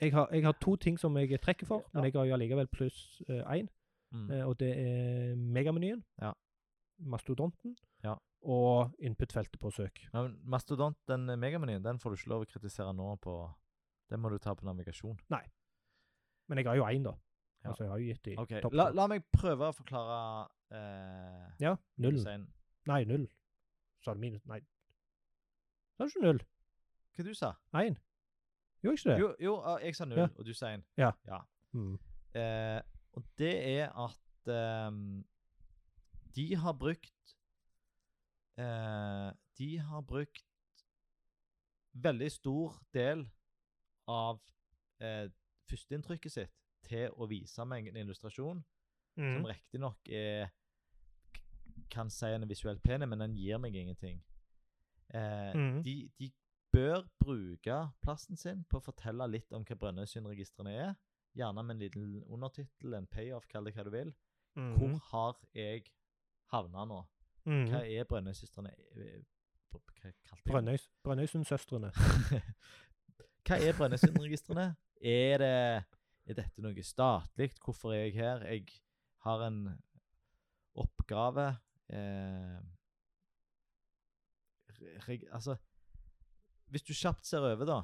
Speaker 1: Jeg har, jeg har to ting som jeg trekker for, men
Speaker 2: Ja.
Speaker 1: jeg har jo allikevel pluss én.
Speaker 2: mm.
Speaker 1: Eh, Og det er megamenyen,
Speaker 2: Ja.
Speaker 1: mastodonten
Speaker 2: Ja.
Speaker 1: og input-feltet på søk.
Speaker 2: ja, men Mastodont, den megamenyen, den får du ikke lov å kritisere nå på Den må du ta på navigasjon.
Speaker 1: Men jeg har jo én, da.
Speaker 2: Ja.
Speaker 1: Altså, jeg har jo gitt de
Speaker 2: OK,
Speaker 1: topp
Speaker 2: la,
Speaker 1: to.
Speaker 2: la meg prøve å forklare eh,
Speaker 1: Ja, null.
Speaker 2: design.
Speaker 1: Nei, null. Sa du minus? Nei. Sa du ikke null?
Speaker 2: Hva du sa
Speaker 1: Én? Gjorde jeg ikke det?
Speaker 2: Jo, jo ah, jeg sa null,
Speaker 1: Ja.
Speaker 2: og du sa én.
Speaker 1: Ja.
Speaker 2: ja.
Speaker 1: Mm.
Speaker 2: Eh, og det er at ehm, de har brukt eh, De har brukt veldig stor del av eh, førsteinntrykket sitt til å vise meg en illustrasjon som
Speaker 1: Mm.
Speaker 2: riktignok er k- Kan si en er visuelt pen, men den gir meg ingenting. Eh,
Speaker 1: Mhm.
Speaker 2: de, de bør bruke plassen sin på å fortelle litt om hva Brønnøysundregistrene er. Gjerne med en liten undertittel, en payoff, kall det hva du vil.
Speaker 1: Mm.
Speaker 2: Hvor har jeg havna nå?
Speaker 1: Mm.
Speaker 2: Hva er Brønnøysystrene eh, Hva kalte jeg det?
Speaker 1: Brønnøys, Brønnøysundsøstrene.
Speaker 2: Hva er Brønnøysundregistrene? er, det- er dette noe statlig? Hvorfor er jeg her? Jeg har en oppgave eh, reg, Altså Hvis du kjapt ser over, da.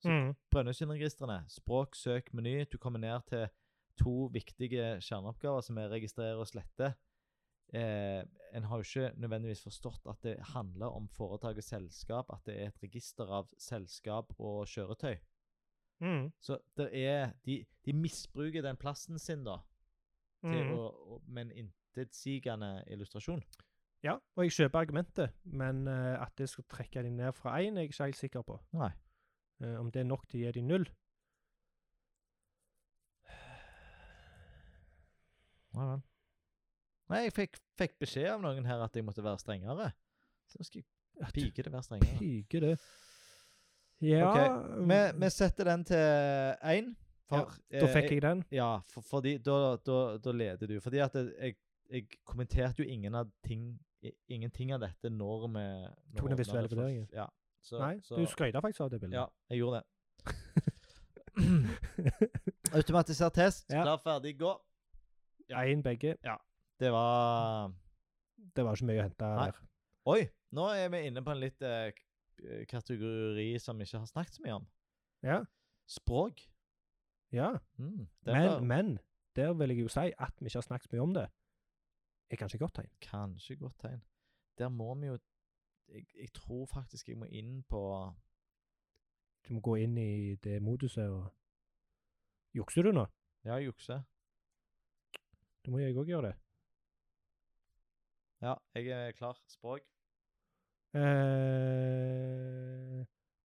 Speaker 2: Så-
Speaker 1: Mm.
Speaker 2: Brønnøysundregistrene. Språk, søk, meny. Du kommer ned til to viktige kjerneoppgaver som er registrere og slette. Eh, en har jo ikke nødvendigvis forstått at det handler om foretak og selskap, at det er et register av selskap og kjøretøy.
Speaker 1: Mm.
Speaker 2: Så det er, de, de misbruker den plassen sin da, til
Speaker 1: Mm.
Speaker 2: å, å, med en intetsigende illustrasjon.
Speaker 1: Ja, og jeg kjøper argumentet, men eh, at det skal trekke de ned fra én, er jeg ikke helt sikker på.
Speaker 2: Nei.
Speaker 1: Eh, om det er nok til å gi de null.
Speaker 2: Nei vel. Nei, jeg fikk, fikk beskjed av noen her at jeg måtte være strengere. Så nå skal jeg
Speaker 1: At du
Speaker 2: pike det å være strengere.
Speaker 1: Piker det. Ja mm.
Speaker 2: Vi, vi setter den til én. For,
Speaker 1: Da fikk jeg den.
Speaker 2: Ja, for, fordi da, da, da leder du. Fordi at jeg, jeg kommenterte jo ingen av ting, i- ingenting av dette når vi når
Speaker 1: Tok den
Speaker 2: vi åpnet
Speaker 1: visuelle
Speaker 2: det for-
Speaker 1: vurderingen.
Speaker 2: Ja. Så,
Speaker 1: Nei,
Speaker 2: så,
Speaker 1: du skrøyta faktisk av det bildet.
Speaker 2: Ja, jeg gjorde det. Automatisert test.
Speaker 1: Ja.
Speaker 2: Klar, ferdig, gå. Ja.
Speaker 1: Én begge.
Speaker 2: Det var
Speaker 1: Det var ikke mye å hente
Speaker 2: Nei.
Speaker 1: der.
Speaker 2: Oi, nå er vi inne på en litt eh, k- kategori som vi ikke har snakket så mye om.
Speaker 1: Ja.
Speaker 2: Språk.
Speaker 1: ja.
Speaker 2: Mm, det
Speaker 1: Men,
Speaker 2: var-
Speaker 1: men der vil jeg jo si at vi ikke har snakket så mye om det, er kanskje et godt tegn.
Speaker 2: Kanskje godt tegn. Der må vi jo jeg, jeg tror faktisk jeg må inn på
Speaker 1: Du må gå inn i det moduset og Jukser du nå?
Speaker 2: Ja, jukse.
Speaker 1: Da må jeg òg gjøre det.
Speaker 2: Ja, jeg er klar. Språk.
Speaker 1: Eh,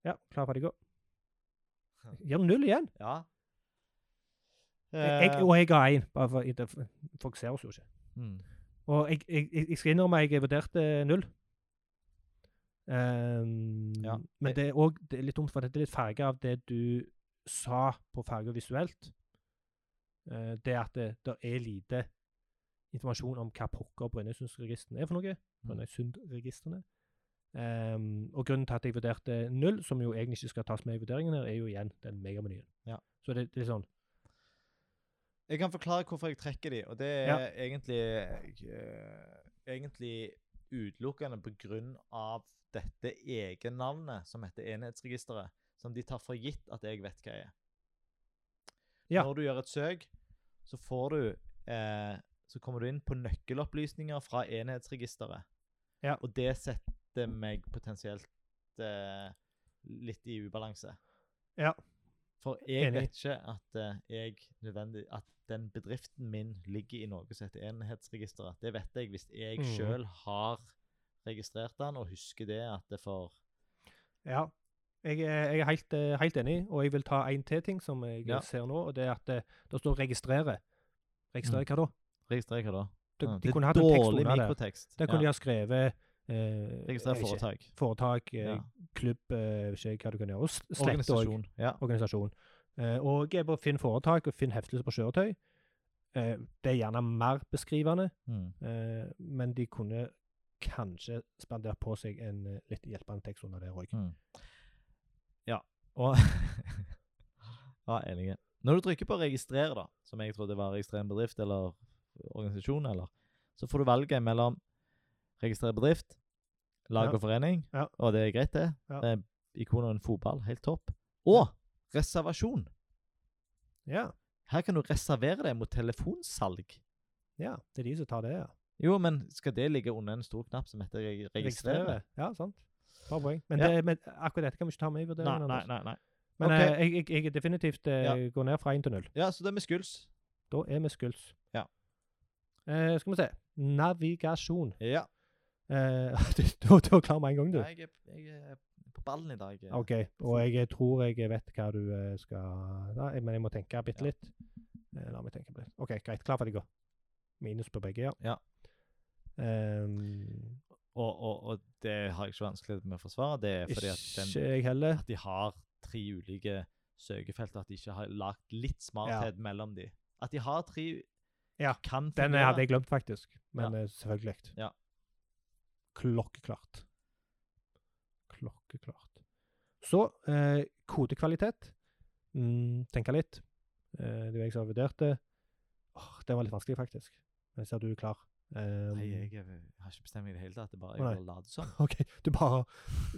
Speaker 1: ja, klar, ferdig, gå. Gjør null igjen.
Speaker 2: Ja. Eh.
Speaker 1: Jeg, og jeg ga én, bare for det- for- folk ser oss jo ikke.
Speaker 2: mm.
Speaker 1: Og jeg, jeg, jeg- jeg skal innrømme jeg vurderte null. Ehm,
Speaker 2: Ja.
Speaker 1: Men det er òg det er litt dumt, for dette er litt farge av det du sa på farge visuelt. Eh, det at det der er lite informasjon om hva pokker Brønnøysundregistrene er for noe.
Speaker 2: Mm.
Speaker 1: Brønnøysundregistrene. Ehm, og grunnen til at jeg vurderte null, som jo egentlig ikke skal tas med i vurderingen, her, er jo igjen den megamenyen.
Speaker 2: Ja.
Speaker 1: Så det, det er sånn
Speaker 2: Jeg kan forklare hvorfor jeg trekker de, og det er
Speaker 1: Ja.
Speaker 2: egentlig eh, egentlig utelukkende på grunn av dette egennavnet som heter enhetsregisteret, som de tar for gitt at jeg vet hva jeg er.
Speaker 1: Ja.
Speaker 2: Når du gjør et søk, så får du eh, så kommer du inn på nøkkelopplysninger fra enhetsregisteret.
Speaker 1: Ja.
Speaker 2: Og det setter meg potensielt eh, litt i ubalanse.
Speaker 1: Ja.
Speaker 2: For jeg
Speaker 1: Enig.
Speaker 2: vet ikke at eh, jeg nødvendig at den bedriften min ligger i noe som heter enhetsregisteret. Det vet jeg hvis jeg
Speaker 1: Mhm.
Speaker 2: selv har registrert den og husker det at det får
Speaker 1: Ja, jeg er, jeg er helt, eh, helt enig, og jeg vil ta en til ting som jeg
Speaker 2: Ja.
Speaker 1: ser nå, og det er at det, det står 'registrere'. Registrere
Speaker 2: Mm.
Speaker 1: hva da?
Speaker 2: Registrer hva da?
Speaker 1: De,
Speaker 2: Ja,
Speaker 1: de kunne hatt en tekst under der.
Speaker 2: mikrotekst.
Speaker 1: Der kunne de ha skrevet eh,
Speaker 2: Registrer
Speaker 1: jeg vet ikke,
Speaker 2: foretak.
Speaker 1: foretak eh,
Speaker 2: Ja.
Speaker 1: klubb, eh, vet ikke hva du kunne gjøre. Og s- slett òg
Speaker 2: Organisasjon. Ja.
Speaker 1: organisasjon. Eh, og jeg er på Finn foretak og Finn heftelse på kjøretøy. Eh, det er gjerne mer beskrivende,
Speaker 2: Mm.
Speaker 1: eh, men de kunne kanskje spandert på seg en eh, litt hjelpende tekst under der òg.
Speaker 2: Mm. Ja, og Ja, enig. Når du trykker på 'registrer', da, som jeg trodde var 'registrere en bedrift' eller organisasjon, eller, så får du valget mellom 'registrere bedrift', lag
Speaker 1: Ja.
Speaker 2: og forening,
Speaker 1: Ja.
Speaker 2: og det er greit, det.
Speaker 1: Ja.
Speaker 2: Det er ikoner og en fotball, helt topp. Og reservasjon.
Speaker 1: Ja,
Speaker 2: Her kan du reservere deg mot telefonsalg.
Speaker 1: ja, det er de som tar det, ja.
Speaker 2: Jo, men skal det ligge under en stor knapp som heter reg- 'registrere'?
Speaker 1: Ja, sant. Bra poeng. Men,
Speaker 2: Ja.
Speaker 1: det, men akkurat dette kan vi ikke ta med i
Speaker 2: Nei,
Speaker 1: vurderingen.
Speaker 2: nei,
Speaker 1: Anders.
Speaker 2: nei. nei.
Speaker 1: Men
Speaker 2: Ok.
Speaker 1: eh, jeg, jeg, jeg er definitivt eh,
Speaker 2: Ja.
Speaker 1: går ned fra 1 til 0.
Speaker 2: Ja, så det er med skuls.
Speaker 1: Da er vi skuls.
Speaker 2: Ja.
Speaker 1: Eh, skal vi se. Navigasjon.
Speaker 2: Ja.
Speaker 1: Eh, du, du, du er klar med en gang, du.
Speaker 2: Nei, jeg, er- jeg er på ballen i dag.
Speaker 1: OK. Og jeg tror jeg vet hva du eh, skal Nei, men jeg må tenke bitte
Speaker 2: Ja.
Speaker 1: litt. Eh, la meg tenke på det. OK, greit. Klar, ferdig, gå. Minus på begge, ja.
Speaker 2: Ja.
Speaker 1: Ehm,
Speaker 2: Og, og, og det har jeg ikke vanskelig med å forsvare. Det er fordi at,
Speaker 1: ikke
Speaker 2: den,
Speaker 1: jeg heller.
Speaker 2: at de har tre ulike søkefelt, at de ikke har lagt litt smarthet mellom de. At de har tre
Speaker 1: Ja,
Speaker 2: kan
Speaker 1: Den eh, hadde jeg glemt, faktisk. Men
Speaker 2: Ja.
Speaker 1: eh, selvfølgelig.
Speaker 2: Ja.
Speaker 1: Klokkeklart. Klokkeklart. Så eh, kodekvalitet. Mm, Tenke litt. Eh, det var jeg som vurderte. Åh, den var litt vanskelig, faktisk. Men jeg ser du er klar. Ehm,
Speaker 2: Nei, jeg, er- jeg har ikke bestemt meg i det hele tatt. Det er bare
Speaker 1: Å, nei.
Speaker 2: jeg bare later som.
Speaker 1: OK, du bare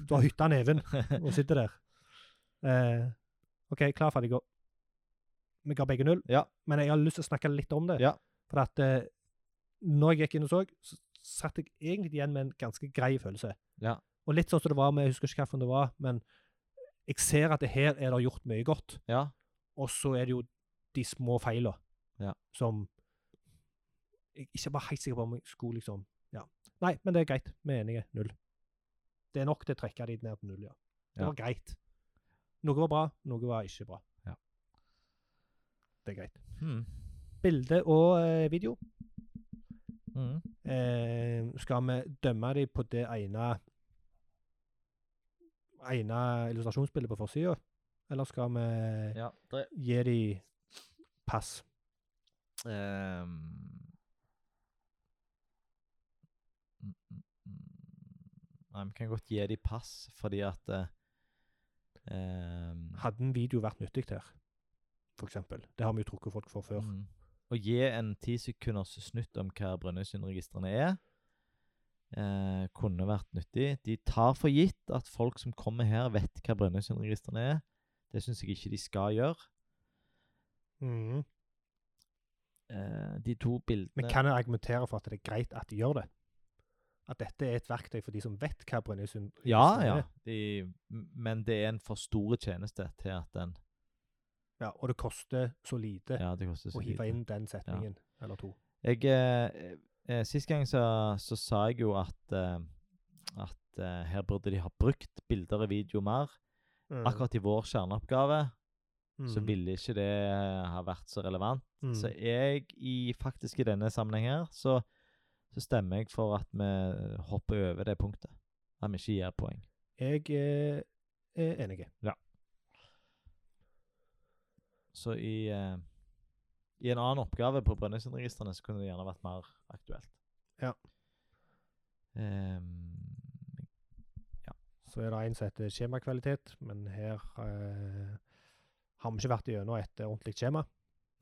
Speaker 1: Du har hytta neven og sitter der. Eh, OK, klar, ferdig, gå. Vi ga begge null,
Speaker 2: Ja.
Speaker 1: men jeg har lyst til å snakke litt om det.
Speaker 2: Ja.
Speaker 1: For at eh, når jeg gikk inn og så, så satt jeg egentlig igjen med en ganske grei følelse.
Speaker 2: Ja.
Speaker 1: Og litt sånn som det var med Jeg husker ikke hvilken det var, men jeg ser at det her er det gjort mye godt.
Speaker 2: ja.
Speaker 1: Og så er det jo de små feila
Speaker 2: Ja.
Speaker 1: som Jeg ikke var helt sikker på om jeg skulle liksom Ja. Nei, men det er greit. Vi er enige. Null. Det er nok til å trekke de ned til null, ja. Det
Speaker 2: Ja.
Speaker 1: var greit. Noe var bra, noe var ikke bra.
Speaker 2: Ja.
Speaker 1: Det er greit.
Speaker 2: Hmm.
Speaker 1: Bilde og eh, video.
Speaker 2: Mm.
Speaker 1: eh, skal vi dømme dem på det ene ene illustrasjonsbildet på forsida, eller skal vi
Speaker 2: Ja. Det,
Speaker 1: gi dem pass?
Speaker 2: ehm. Mm, mm, mm. Nei, vi kan godt gi de pass, fordi at eh, ehm,
Speaker 1: Hadde en video vært nyttig her, for eksempel? Det har vi jo trukket folk for før.
Speaker 2: Mm. Å gi en ti sekunders snutt om hva Brønnøysundregistrene er, eh, kunne vært nyttig. De tar for gitt at folk som kommer her, vet hva Brønnøysundregistrene Mm. er. Det syns jeg ikke de skal gjøre. eh, de to
Speaker 1: Men
Speaker 2: bildene
Speaker 1: Mhm. kan jeg argumentere for at det er greit at de gjør det? At dette er et verktøy for de som vet hva Brønnøysund
Speaker 2: Ja, ja. De, m- men det er en for stor tjeneste til at den
Speaker 1: ja. Og det koster så lite
Speaker 2: Ja, det koster så
Speaker 1: å hive
Speaker 2: lite.
Speaker 1: inn den setningen eller to.
Speaker 2: Jeg, eh, eh, sist gang så, så sa jeg jo at, eh, at eh, her burde de ha brukt bilder og video mer.
Speaker 1: Mm.
Speaker 2: Akkurat i vår kjerneoppgave så
Speaker 1: Mm.
Speaker 2: ville ikke det ha vært så relevant.
Speaker 1: Mm.
Speaker 2: Så jeg, i, faktisk i denne sammenheng her, så, så stemmer jeg for at vi hopper over det punktet. At vi ikke gir poeng.
Speaker 1: Jeg er, er enig.
Speaker 2: Så i, eh, i en annen oppgave på Brønnøysundregistrene så kunne det gjerne vært mer aktuelt.
Speaker 1: Ja.
Speaker 2: Ehm,
Speaker 1: Så er det en som heter skjemakvalitet, men her eh, har vi ikke vært igjennom et ordentlig skjema.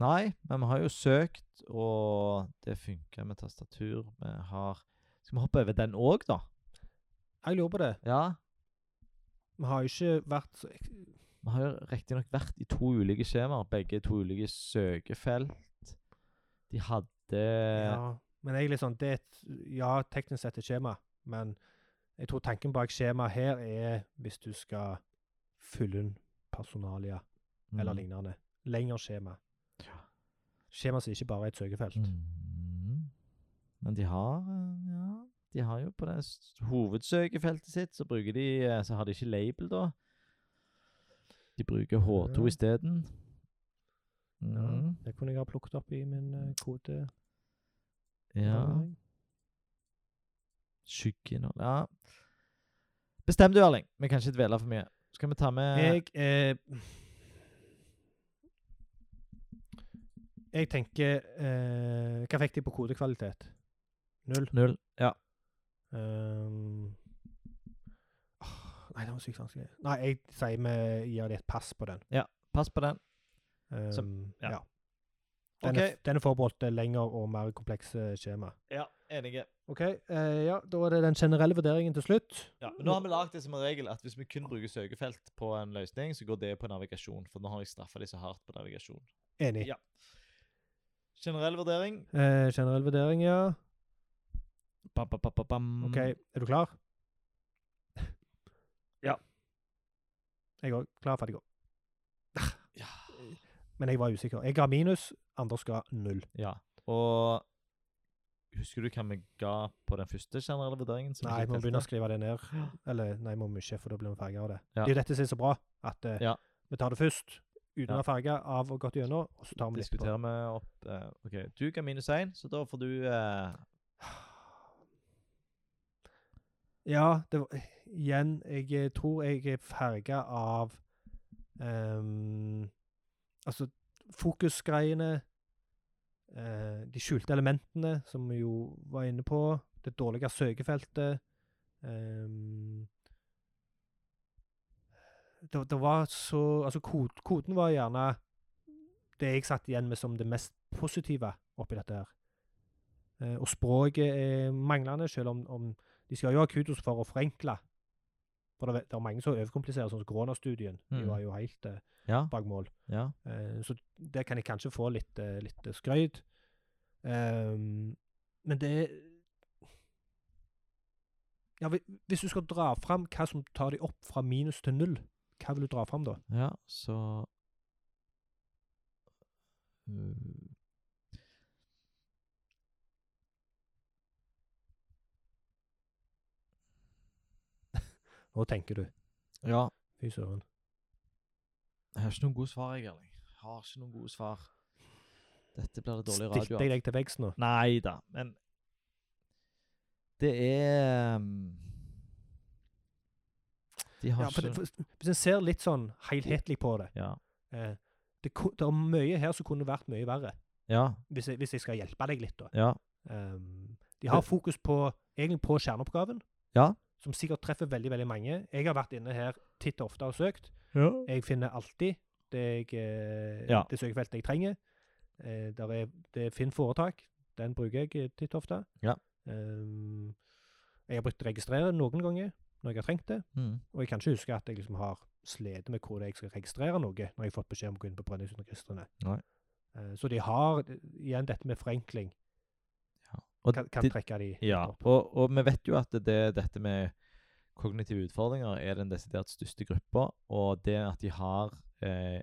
Speaker 2: nei, men vi har jo søkt, og det funker med tastatur. Vi har Skal vi hoppe over den òg, da?
Speaker 1: Jeg lurer på det.
Speaker 2: Ja.
Speaker 1: Vi har jo ikke vært så-
Speaker 2: Vi har jo riktignok vært i to ulike skjemaer, begge to ulike søkefelt. De hadde
Speaker 1: Ja, men jeg er litt sånn det er et, Ja, teknisk sett et skjema, men jeg tror tanken bak skjemaet her er hvis du skal fylle inn personalia
Speaker 2: mm,
Speaker 1: eller lignende. Lengre skjema. Skjema som ikke bare er et søkefelt.
Speaker 2: Mm. Men de har eh, Ja, de har jo på det s- hovedsøkefeltet sitt, så bruker de eh, Så har de ikke label, da. De bruker H2
Speaker 1: Ja.
Speaker 2: isteden. Mm.
Speaker 1: Det kunne jeg ha plukket opp i min eh, kode.
Speaker 2: Ja. Skyggeinnhold Ja. Bestem du, Erling. Vi kan ikke dvele for mye. Skal vi ta med
Speaker 1: Jeg eh, Jeg tenker eh, Hva fikk de på kodekvalitet? Null.
Speaker 2: null? Ja.
Speaker 1: Ehm, åh, nei, det var sykt vanskelig. Nei, jeg sier vi gir dem et pass på den.
Speaker 2: Pass på den.
Speaker 1: Ehm,
Speaker 2: ja.
Speaker 1: ja. Den, er,
Speaker 2: Ok.
Speaker 1: den er forbeholdt eh, lengre og mer komplekse skjema.
Speaker 2: Ja, enige.
Speaker 1: OK, eh, ja, da er det den generelle vurderingen til slutt.
Speaker 2: Ja, men nå har vi lagd det som en regel at hvis vi kun bruker søkefelt på en løsning, så går det på navigasjon. For nå har jeg straffa de så hardt på navigasjon.
Speaker 1: Enig.
Speaker 2: Ja. Generell vurdering.
Speaker 1: Eh, generell vurdering, ja.
Speaker 2: Bam, bam, bam, bam, bam.
Speaker 1: OK, er du klar?
Speaker 2: Ja.
Speaker 1: Jeg òg. Klar, ferdig, gå.
Speaker 2: Ja.
Speaker 1: Men jeg var usikker. Jeg ga minus, Anders ga null.
Speaker 2: ja. Og husker du hva vi ga på den første generelle vurderingen? som
Speaker 1: Nei,
Speaker 2: ikke
Speaker 1: vi må
Speaker 2: telte?
Speaker 1: begynne å skrive det ned. Eller nei, må vi ikke, for da blir vi farga av det.
Speaker 2: Ja.
Speaker 1: Det er jo dette som er så bra, at eh,
Speaker 2: Ja.
Speaker 1: vi tar det først uten å
Speaker 2: Ja.
Speaker 1: være farga av og gått gjennom, og så tar vi det etterpå.
Speaker 2: Diskuterer vi opp eh, OK, du ga minus én, så da får du eh,
Speaker 1: Ja, det var Igjen, jeg eh, tror jeg er farga av ehm, Altså fokusgreiene. eh, de skjulte elementene, som vi jo var inne på. Det dårlige søkefeltet. ehm, det, det var så Altså, kod, koden var gjerne det jeg satt igjen med som det mest positive oppi dette her. Eh, og språket er manglende, selv om, om de skal jo ha kudos for å forenkle. For det, det er mange som overkompliserer, sånn som koronastudien. De
Speaker 2: Mm.
Speaker 1: var jo helt eh,
Speaker 2: Ja.
Speaker 1: bak mål.
Speaker 2: ja.
Speaker 1: Eh, så der kan jeg kanskje få litt, eh, litt skryt. Ehm, men det er ja, hvi- Hvis du skal dra fram hva som tar de opp fra minus til null, hva vil du dra fram da?
Speaker 2: Ja, så Mm.
Speaker 1: Nå tenker du.
Speaker 2: Ja.
Speaker 1: Fy søren.
Speaker 2: Jeg har ikke noen gode svar, jeg, Erling. Jeg Har ikke noen gode svar. Dette blir det dårlig radio altså.
Speaker 1: Stilte jeg deg til veggs nå?
Speaker 2: Nei da, men Det er um, De har
Speaker 1: Ja, for,
Speaker 2: ikke
Speaker 1: det- for, hvis en ser litt sånn helhetlig på det
Speaker 2: ja.
Speaker 1: eh, det, ku- det er mye her som kunne vært mye verre,
Speaker 2: ja,
Speaker 1: hvis jeg, hvis jeg skal hjelpe deg litt, da.
Speaker 2: ja.
Speaker 1: Ehm, de har
Speaker 2: Det-
Speaker 1: fokus på, egentlig på kjerneoppgaven,
Speaker 2: Ja.
Speaker 1: som sikkert treffer veldig veldig mange. Jeg har vært inne her titt og ofte og søkt.
Speaker 2: Ja.
Speaker 1: Jeg finner alltid det, jeg, eh,
Speaker 2: Ja.
Speaker 1: det søkefeltet jeg trenger. Eh, der er, det er Finn foretak. Den bruker jeg eh, titt og ofte.
Speaker 2: Ja.
Speaker 1: Ehm, jeg har brukt registrere noen ganger når jeg har trengt det.
Speaker 2: Mm.
Speaker 1: Og jeg kan ikke huske at jeg liksom har slitt med hvor det er jeg skal registrere noe, når jeg har fått beskjed om å gå inn på Brønnøysundregistrene.
Speaker 2: Nei.
Speaker 1: Eh, Så de har eh, igjen dette med forenkling.
Speaker 2: Og
Speaker 1: Kan, kan
Speaker 2: det-
Speaker 1: trekke de
Speaker 2: Ja,
Speaker 1: opp.
Speaker 2: og, og vi vet jo at det, dette med kognitive utfordringer er den desidert største gruppa, og det at de har eh,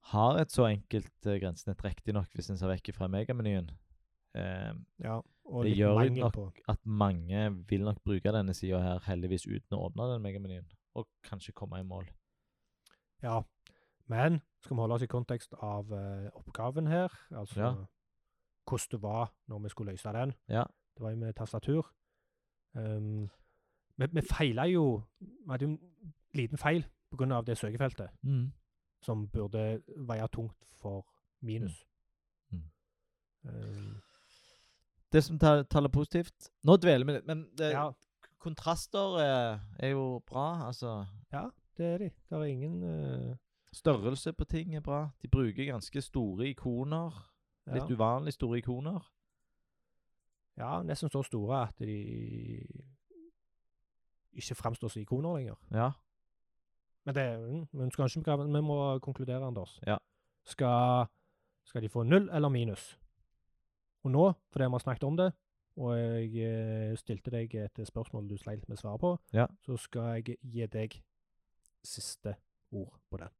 Speaker 2: har et så enkelt eh, grensenett, riktignok hvis en ser vekk fra megamenyen, eh,
Speaker 1: Ja, og
Speaker 2: det
Speaker 1: litt
Speaker 2: gjør de
Speaker 1: mangel
Speaker 2: nok.
Speaker 1: på.
Speaker 2: at mange vil nok bruke denne sida her heldigvis uten å åpne den megamenyen, og kanskje komme i mål.
Speaker 1: Ja. Men skal vi holde oss i kontekst av eh, oppgaven her, altså
Speaker 2: Ja.
Speaker 1: hvordan det var når vi skulle løse den.
Speaker 2: Ja.
Speaker 1: Det var jo med tastatur. Ehm, vi vi feila jo Vi hadde jo en liten feil pga. det søkefeltet,
Speaker 2: Mm.
Speaker 1: som burde veie tungt for minus.
Speaker 2: Mm.
Speaker 1: Ehm,
Speaker 2: Det som tar- taler positivt Nå dveler vi litt, men det,
Speaker 1: ja,
Speaker 2: kontraster eh, er jo bra. Altså
Speaker 1: det er de. Det er ingen eh,
Speaker 2: Størrelse på ting er bra. De bruker ganske store ikoner.
Speaker 1: ja.
Speaker 2: Litt uvanlig store ikoner.
Speaker 1: ja, nesten så store at de ikke framstår som ikoner lenger.
Speaker 2: Ja.
Speaker 1: Men det mm, men skal ikke begrave, vi må konkludere, Anders.
Speaker 2: Ja.
Speaker 1: Skal, skal de få null eller minus? Og nå, fordi vi har snakket om det, og jeg eh, stilte deg et spørsmål du sleit med svar på,
Speaker 2: Ja.
Speaker 1: så skal jeg gi deg siste ord på den.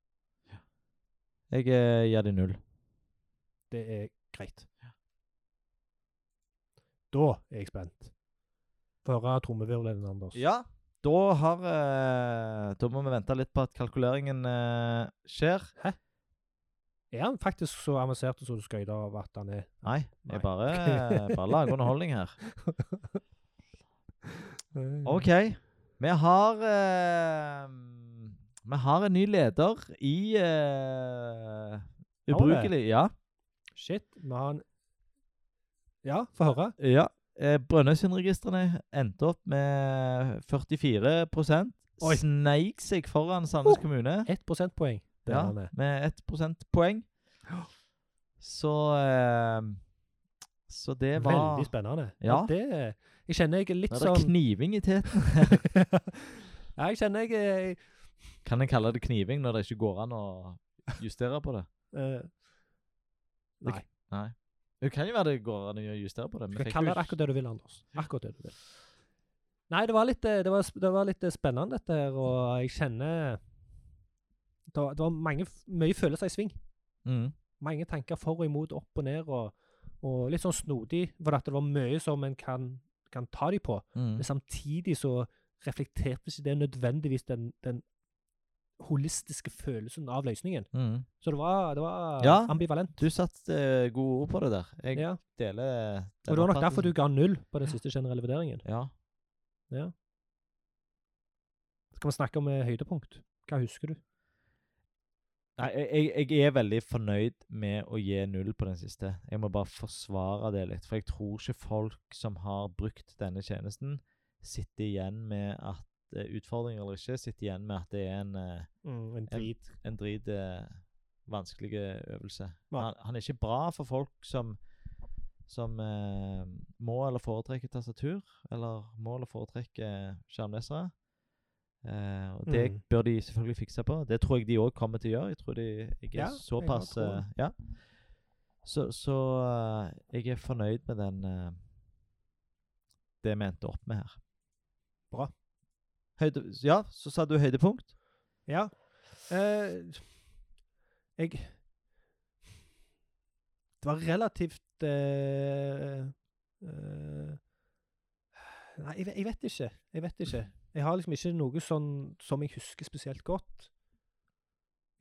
Speaker 2: Jeg eh, gir det null.
Speaker 1: Det er greit. Da er jeg spent. Få høre trommevirvelen, Anders.
Speaker 2: Ja, da har eh, Da må vi vente litt på at kalkuleringen eh, skjer.
Speaker 1: Er han faktisk så avansert som du skryter av at han er?
Speaker 2: Nei,
Speaker 1: Nei.
Speaker 2: jeg bare, bare lager underholdning her.
Speaker 1: Mm.
Speaker 2: OK. Vi har eh, Vi har en ny leder i eh,
Speaker 1: Har vi det?
Speaker 2: Ubrukelig. Ja.
Speaker 1: Shit, vi har en Ja, få høre.
Speaker 2: ja. Eh, Brønnøysundregistrene endte opp med 44
Speaker 1: Oi.
Speaker 2: Sneik seg foran Sandnes
Speaker 1: Oh.
Speaker 2: kommune.
Speaker 1: Ett prosentpoeng. Det er
Speaker 2: Ja,
Speaker 1: han er.
Speaker 2: med ett prosentpoeng. Så eh, Så det var
Speaker 1: Veldig spennende.
Speaker 2: Ja.
Speaker 1: det, jeg kjenner jeg er litt
Speaker 2: Nå er det
Speaker 1: sånn
Speaker 2: kniving i teten.
Speaker 1: Ja, jeg kjenner jeg er-
Speaker 2: Kan en kalle det kniving når det ikke går an å justere på det?
Speaker 1: eh, Nei.
Speaker 2: Nei. Det kan jo være det går an å justere på det.
Speaker 1: Du
Speaker 2: men
Speaker 1: kan
Speaker 2: fikk
Speaker 1: kalle
Speaker 2: jo
Speaker 1: det
Speaker 2: ikke-
Speaker 1: akkurat det du vil, Anders. Akkurat det du vil. Nei, det var litt, eh, det var, sp- det var litt eh, spennende, dette her, og jeg kjenner Det var, det var mange, f- mye følelser i sving.
Speaker 2: Mm.
Speaker 1: mange tanker for og imot, opp og ned, og, og litt sånn snodig, for at det var mye som en kan, kan ta de på.
Speaker 2: Mm.
Speaker 1: Men samtidig så reflekterte ikke det nødvendigvis den, den holistiske følelsen av løsningen.
Speaker 2: Mm.
Speaker 1: Så det var, det var
Speaker 2: Ja.
Speaker 1: ambivalent.
Speaker 2: Du satte eh, gode ord på det der. Jeg
Speaker 1: Ja.
Speaker 2: deler
Speaker 1: Og det var nok derfor du ga null på den siste generelle vurderingen.
Speaker 2: Ja.
Speaker 1: Skal vi snakke om eh, høydepunkt? Hva husker du?
Speaker 2: Nei, jeg, jeg- jeg er veldig fornøyd med å gi null på den siste. Jeg må bare forsvare det litt. For jeg tror ikke folk som har brukt denne tjenesten, sitter igjen med at eh, Utfordringer eller ikke, sitter igjen med at det er en, eh,
Speaker 1: Mm, en drit.
Speaker 2: en drit eh, vanskelig øvelse.
Speaker 1: Nei.
Speaker 2: Han, han er ikke bra for folk som som eh, må eller foretrekker tastatur, eller må eller foretrekker skjermlesere. Eh, og Det
Speaker 1: Mm.
Speaker 2: bør de selvfølgelig fikse på. Det tror jeg de òg kommer til å gjøre. Jeg tror de jeg er
Speaker 1: Ja,
Speaker 2: såpass
Speaker 1: jeg bare tror
Speaker 2: eh, ja. Så, så eh, jeg er fornøyd med den eh, det vi endte opp med her.
Speaker 1: Bra.
Speaker 2: Høyde, ja, så sa du høydepunkt.
Speaker 1: Ja. Eh, jeg Det var relativt eh, eh, Nei, jeg, ve- jeg vet ikke. Jeg vet ikke. Jeg har liksom ikke noe sånn som jeg husker spesielt godt.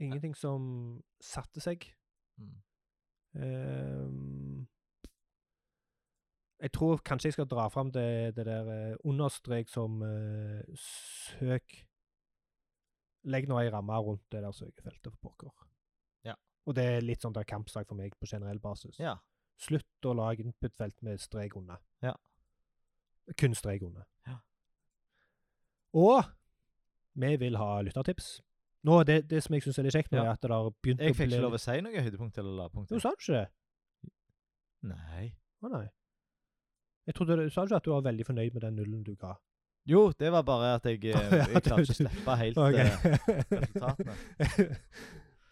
Speaker 1: Ingenting som satte seg.
Speaker 2: Mm.
Speaker 1: Ehm, jeg tror kanskje jeg skal dra fram det, det der eh, understrek som eh, søk Legg nå ei ramme rundt det der søkefeltet for pokker.
Speaker 2: Ja.
Speaker 1: Og det er litt sånn der kampsak for meg på generell basis.
Speaker 2: Ja.
Speaker 1: Slutt å lage input-felt med strek unna.
Speaker 2: Ja.
Speaker 1: Kun strek unna.
Speaker 2: Ja.
Speaker 1: Og vi vil ha lyttertips. Nå, det, det som jeg syns er litt kjekt nå,
Speaker 2: Ja.
Speaker 1: er at det har begynt
Speaker 2: Jeg fikk
Speaker 1: å bli
Speaker 2: ikke lov å si noe høydepunkt eller lavpunkt.
Speaker 1: Jo, sa du ikke det?
Speaker 2: Nei.
Speaker 1: Å nei. Jeg trodde du sa ikke at du var veldig fornøyd med den nullen du ga.
Speaker 2: Jo, det var bare at jeg, eh,
Speaker 1: Ja,
Speaker 2: jeg klarte
Speaker 1: du-
Speaker 2: ikke å slippe helt eh, resultatene.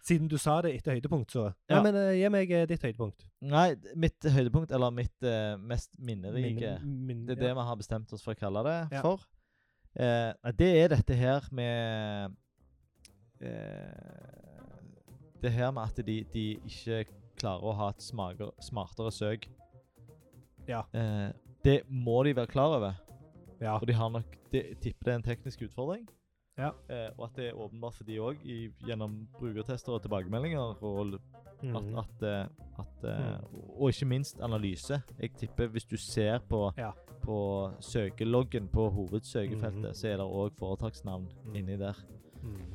Speaker 1: Siden du sa det etter høydepunkt, så Nei,
Speaker 2: Ja.
Speaker 1: men eh, gi meg eh, ditt høydepunkt.
Speaker 2: Nei, d- mitt høydepunkt, eller mitt eh, mest minnerike
Speaker 1: Min- min-
Speaker 2: Det er det vi har bestemt oss for å kalle det
Speaker 1: Ja.
Speaker 2: for. Eh, nei, det er dette her med eh, Det her med at de, de ikke klarer å ha et smager, smartere søk.
Speaker 1: Ja.
Speaker 2: Eh, det må de være klar over,
Speaker 1: ja.
Speaker 2: for de har nok de, tipper det er en teknisk utfordring.
Speaker 1: Ja.
Speaker 2: Eh, og at det er åpenbart for de òg, gjennom brukertester og tilbakemeldinger. og
Speaker 1: Mm.
Speaker 2: at, at, eh, at eh, Og ikke minst analyse. Jeg tipper hvis du ser på,
Speaker 1: Ja.
Speaker 2: på søkeloggen på hovedsøkefeltet,
Speaker 1: Mhm.
Speaker 2: så er det òg foretaksnavn
Speaker 1: Mm.
Speaker 2: inni der.
Speaker 1: Mm.
Speaker 2: Mhm.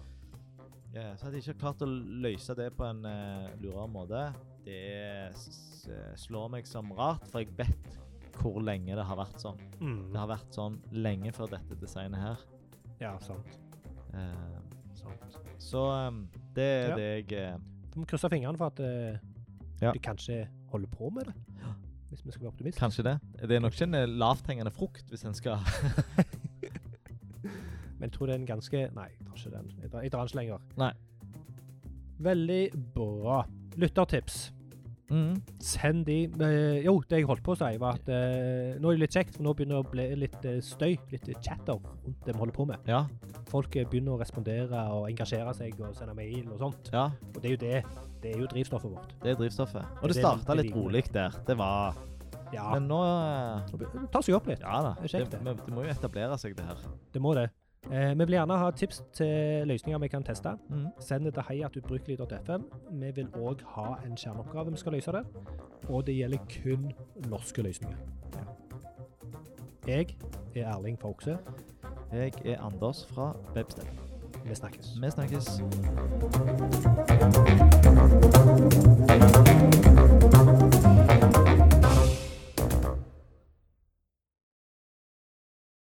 Speaker 2: Ja, så at de ikke har klart å løse det på en eh, lurere måte, det s- s- slår meg som rart, for jeg vet hvor lenge det har vært sånn.
Speaker 1: Mm.
Speaker 2: Det har vært sånn lenge før dette designet her.
Speaker 1: Ja, sant.
Speaker 2: Eh,
Speaker 1: sant.
Speaker 2: så eh, det er
Speaker 1: Ja.
Speaker 2: det jeg eh,
Speaker 1: Vi må krysse fingrene for at eh,
Speaker 2: Ja.
Speaker 1: de kanskje holder på med det. Hvis vi skal være optimister.
Speaker 2: Kanskje det. Det er nok ikke en eh, lavthengende frukt, hvis en skal
Speaker 1: Men jeg tror det er en ganske Nei, jeg tar ikke den. Jeg drar, jeg drar den ikke lenger.
Speaker 2: Nei.
Speaker 1: Veldig bra. Lyttertips.
Speaker 2: Mhm.
Speaker 1: Send de eh, Jo, det jeg holdt på å si, var at eh, nå er det litt kjekt, for nå begynner det å bli litt eh, støy, litt chatter rundt det vi holder på med.
Speaker 2: Ja,
Speaker 1: Folk eh, begynner å respondere og engasjere seg og sende mail og sånt.
Speaker 2: ja,
Speaker 1: Og det er jo det. Det er jo drivstoffet vårt.
Speaker 2: det er drivstoffet. Og
Speaker 1: Det er
Speaker 2: det starta
Speaker 1: det
Speaker 2: litt
Speaker 1: vi liker.
Speaker 2: rolig der. Det var
Speaker 1: Ja.
Speaker 2: Men nå eh,
Speaker 1: det tar seg opp litt.
Speaker 2: Ja da.
Speaker 1: Det
Speaker 2: Det,
Speaker 1: er kjekt, det.
Speaker 2: men det må jo etablere seg, det her.
Speaker 1: Det må det. Eh, vi vil gjerne ha tips til løsninger vi kan teste.
Speaker 2: Mhm.
Speaker 1: Send det til heiatutbrukelig.fm. Vi vil òg ha en skjermoppgave vi skal løse det. Og det gjelder kun norske løsninger. Jeg er Erling fra Okse.
Speaker 2: Jeg er Anders fra Webstep.
Speaker 1: Vi snakkes.
Speaker 2: Vi snakkes.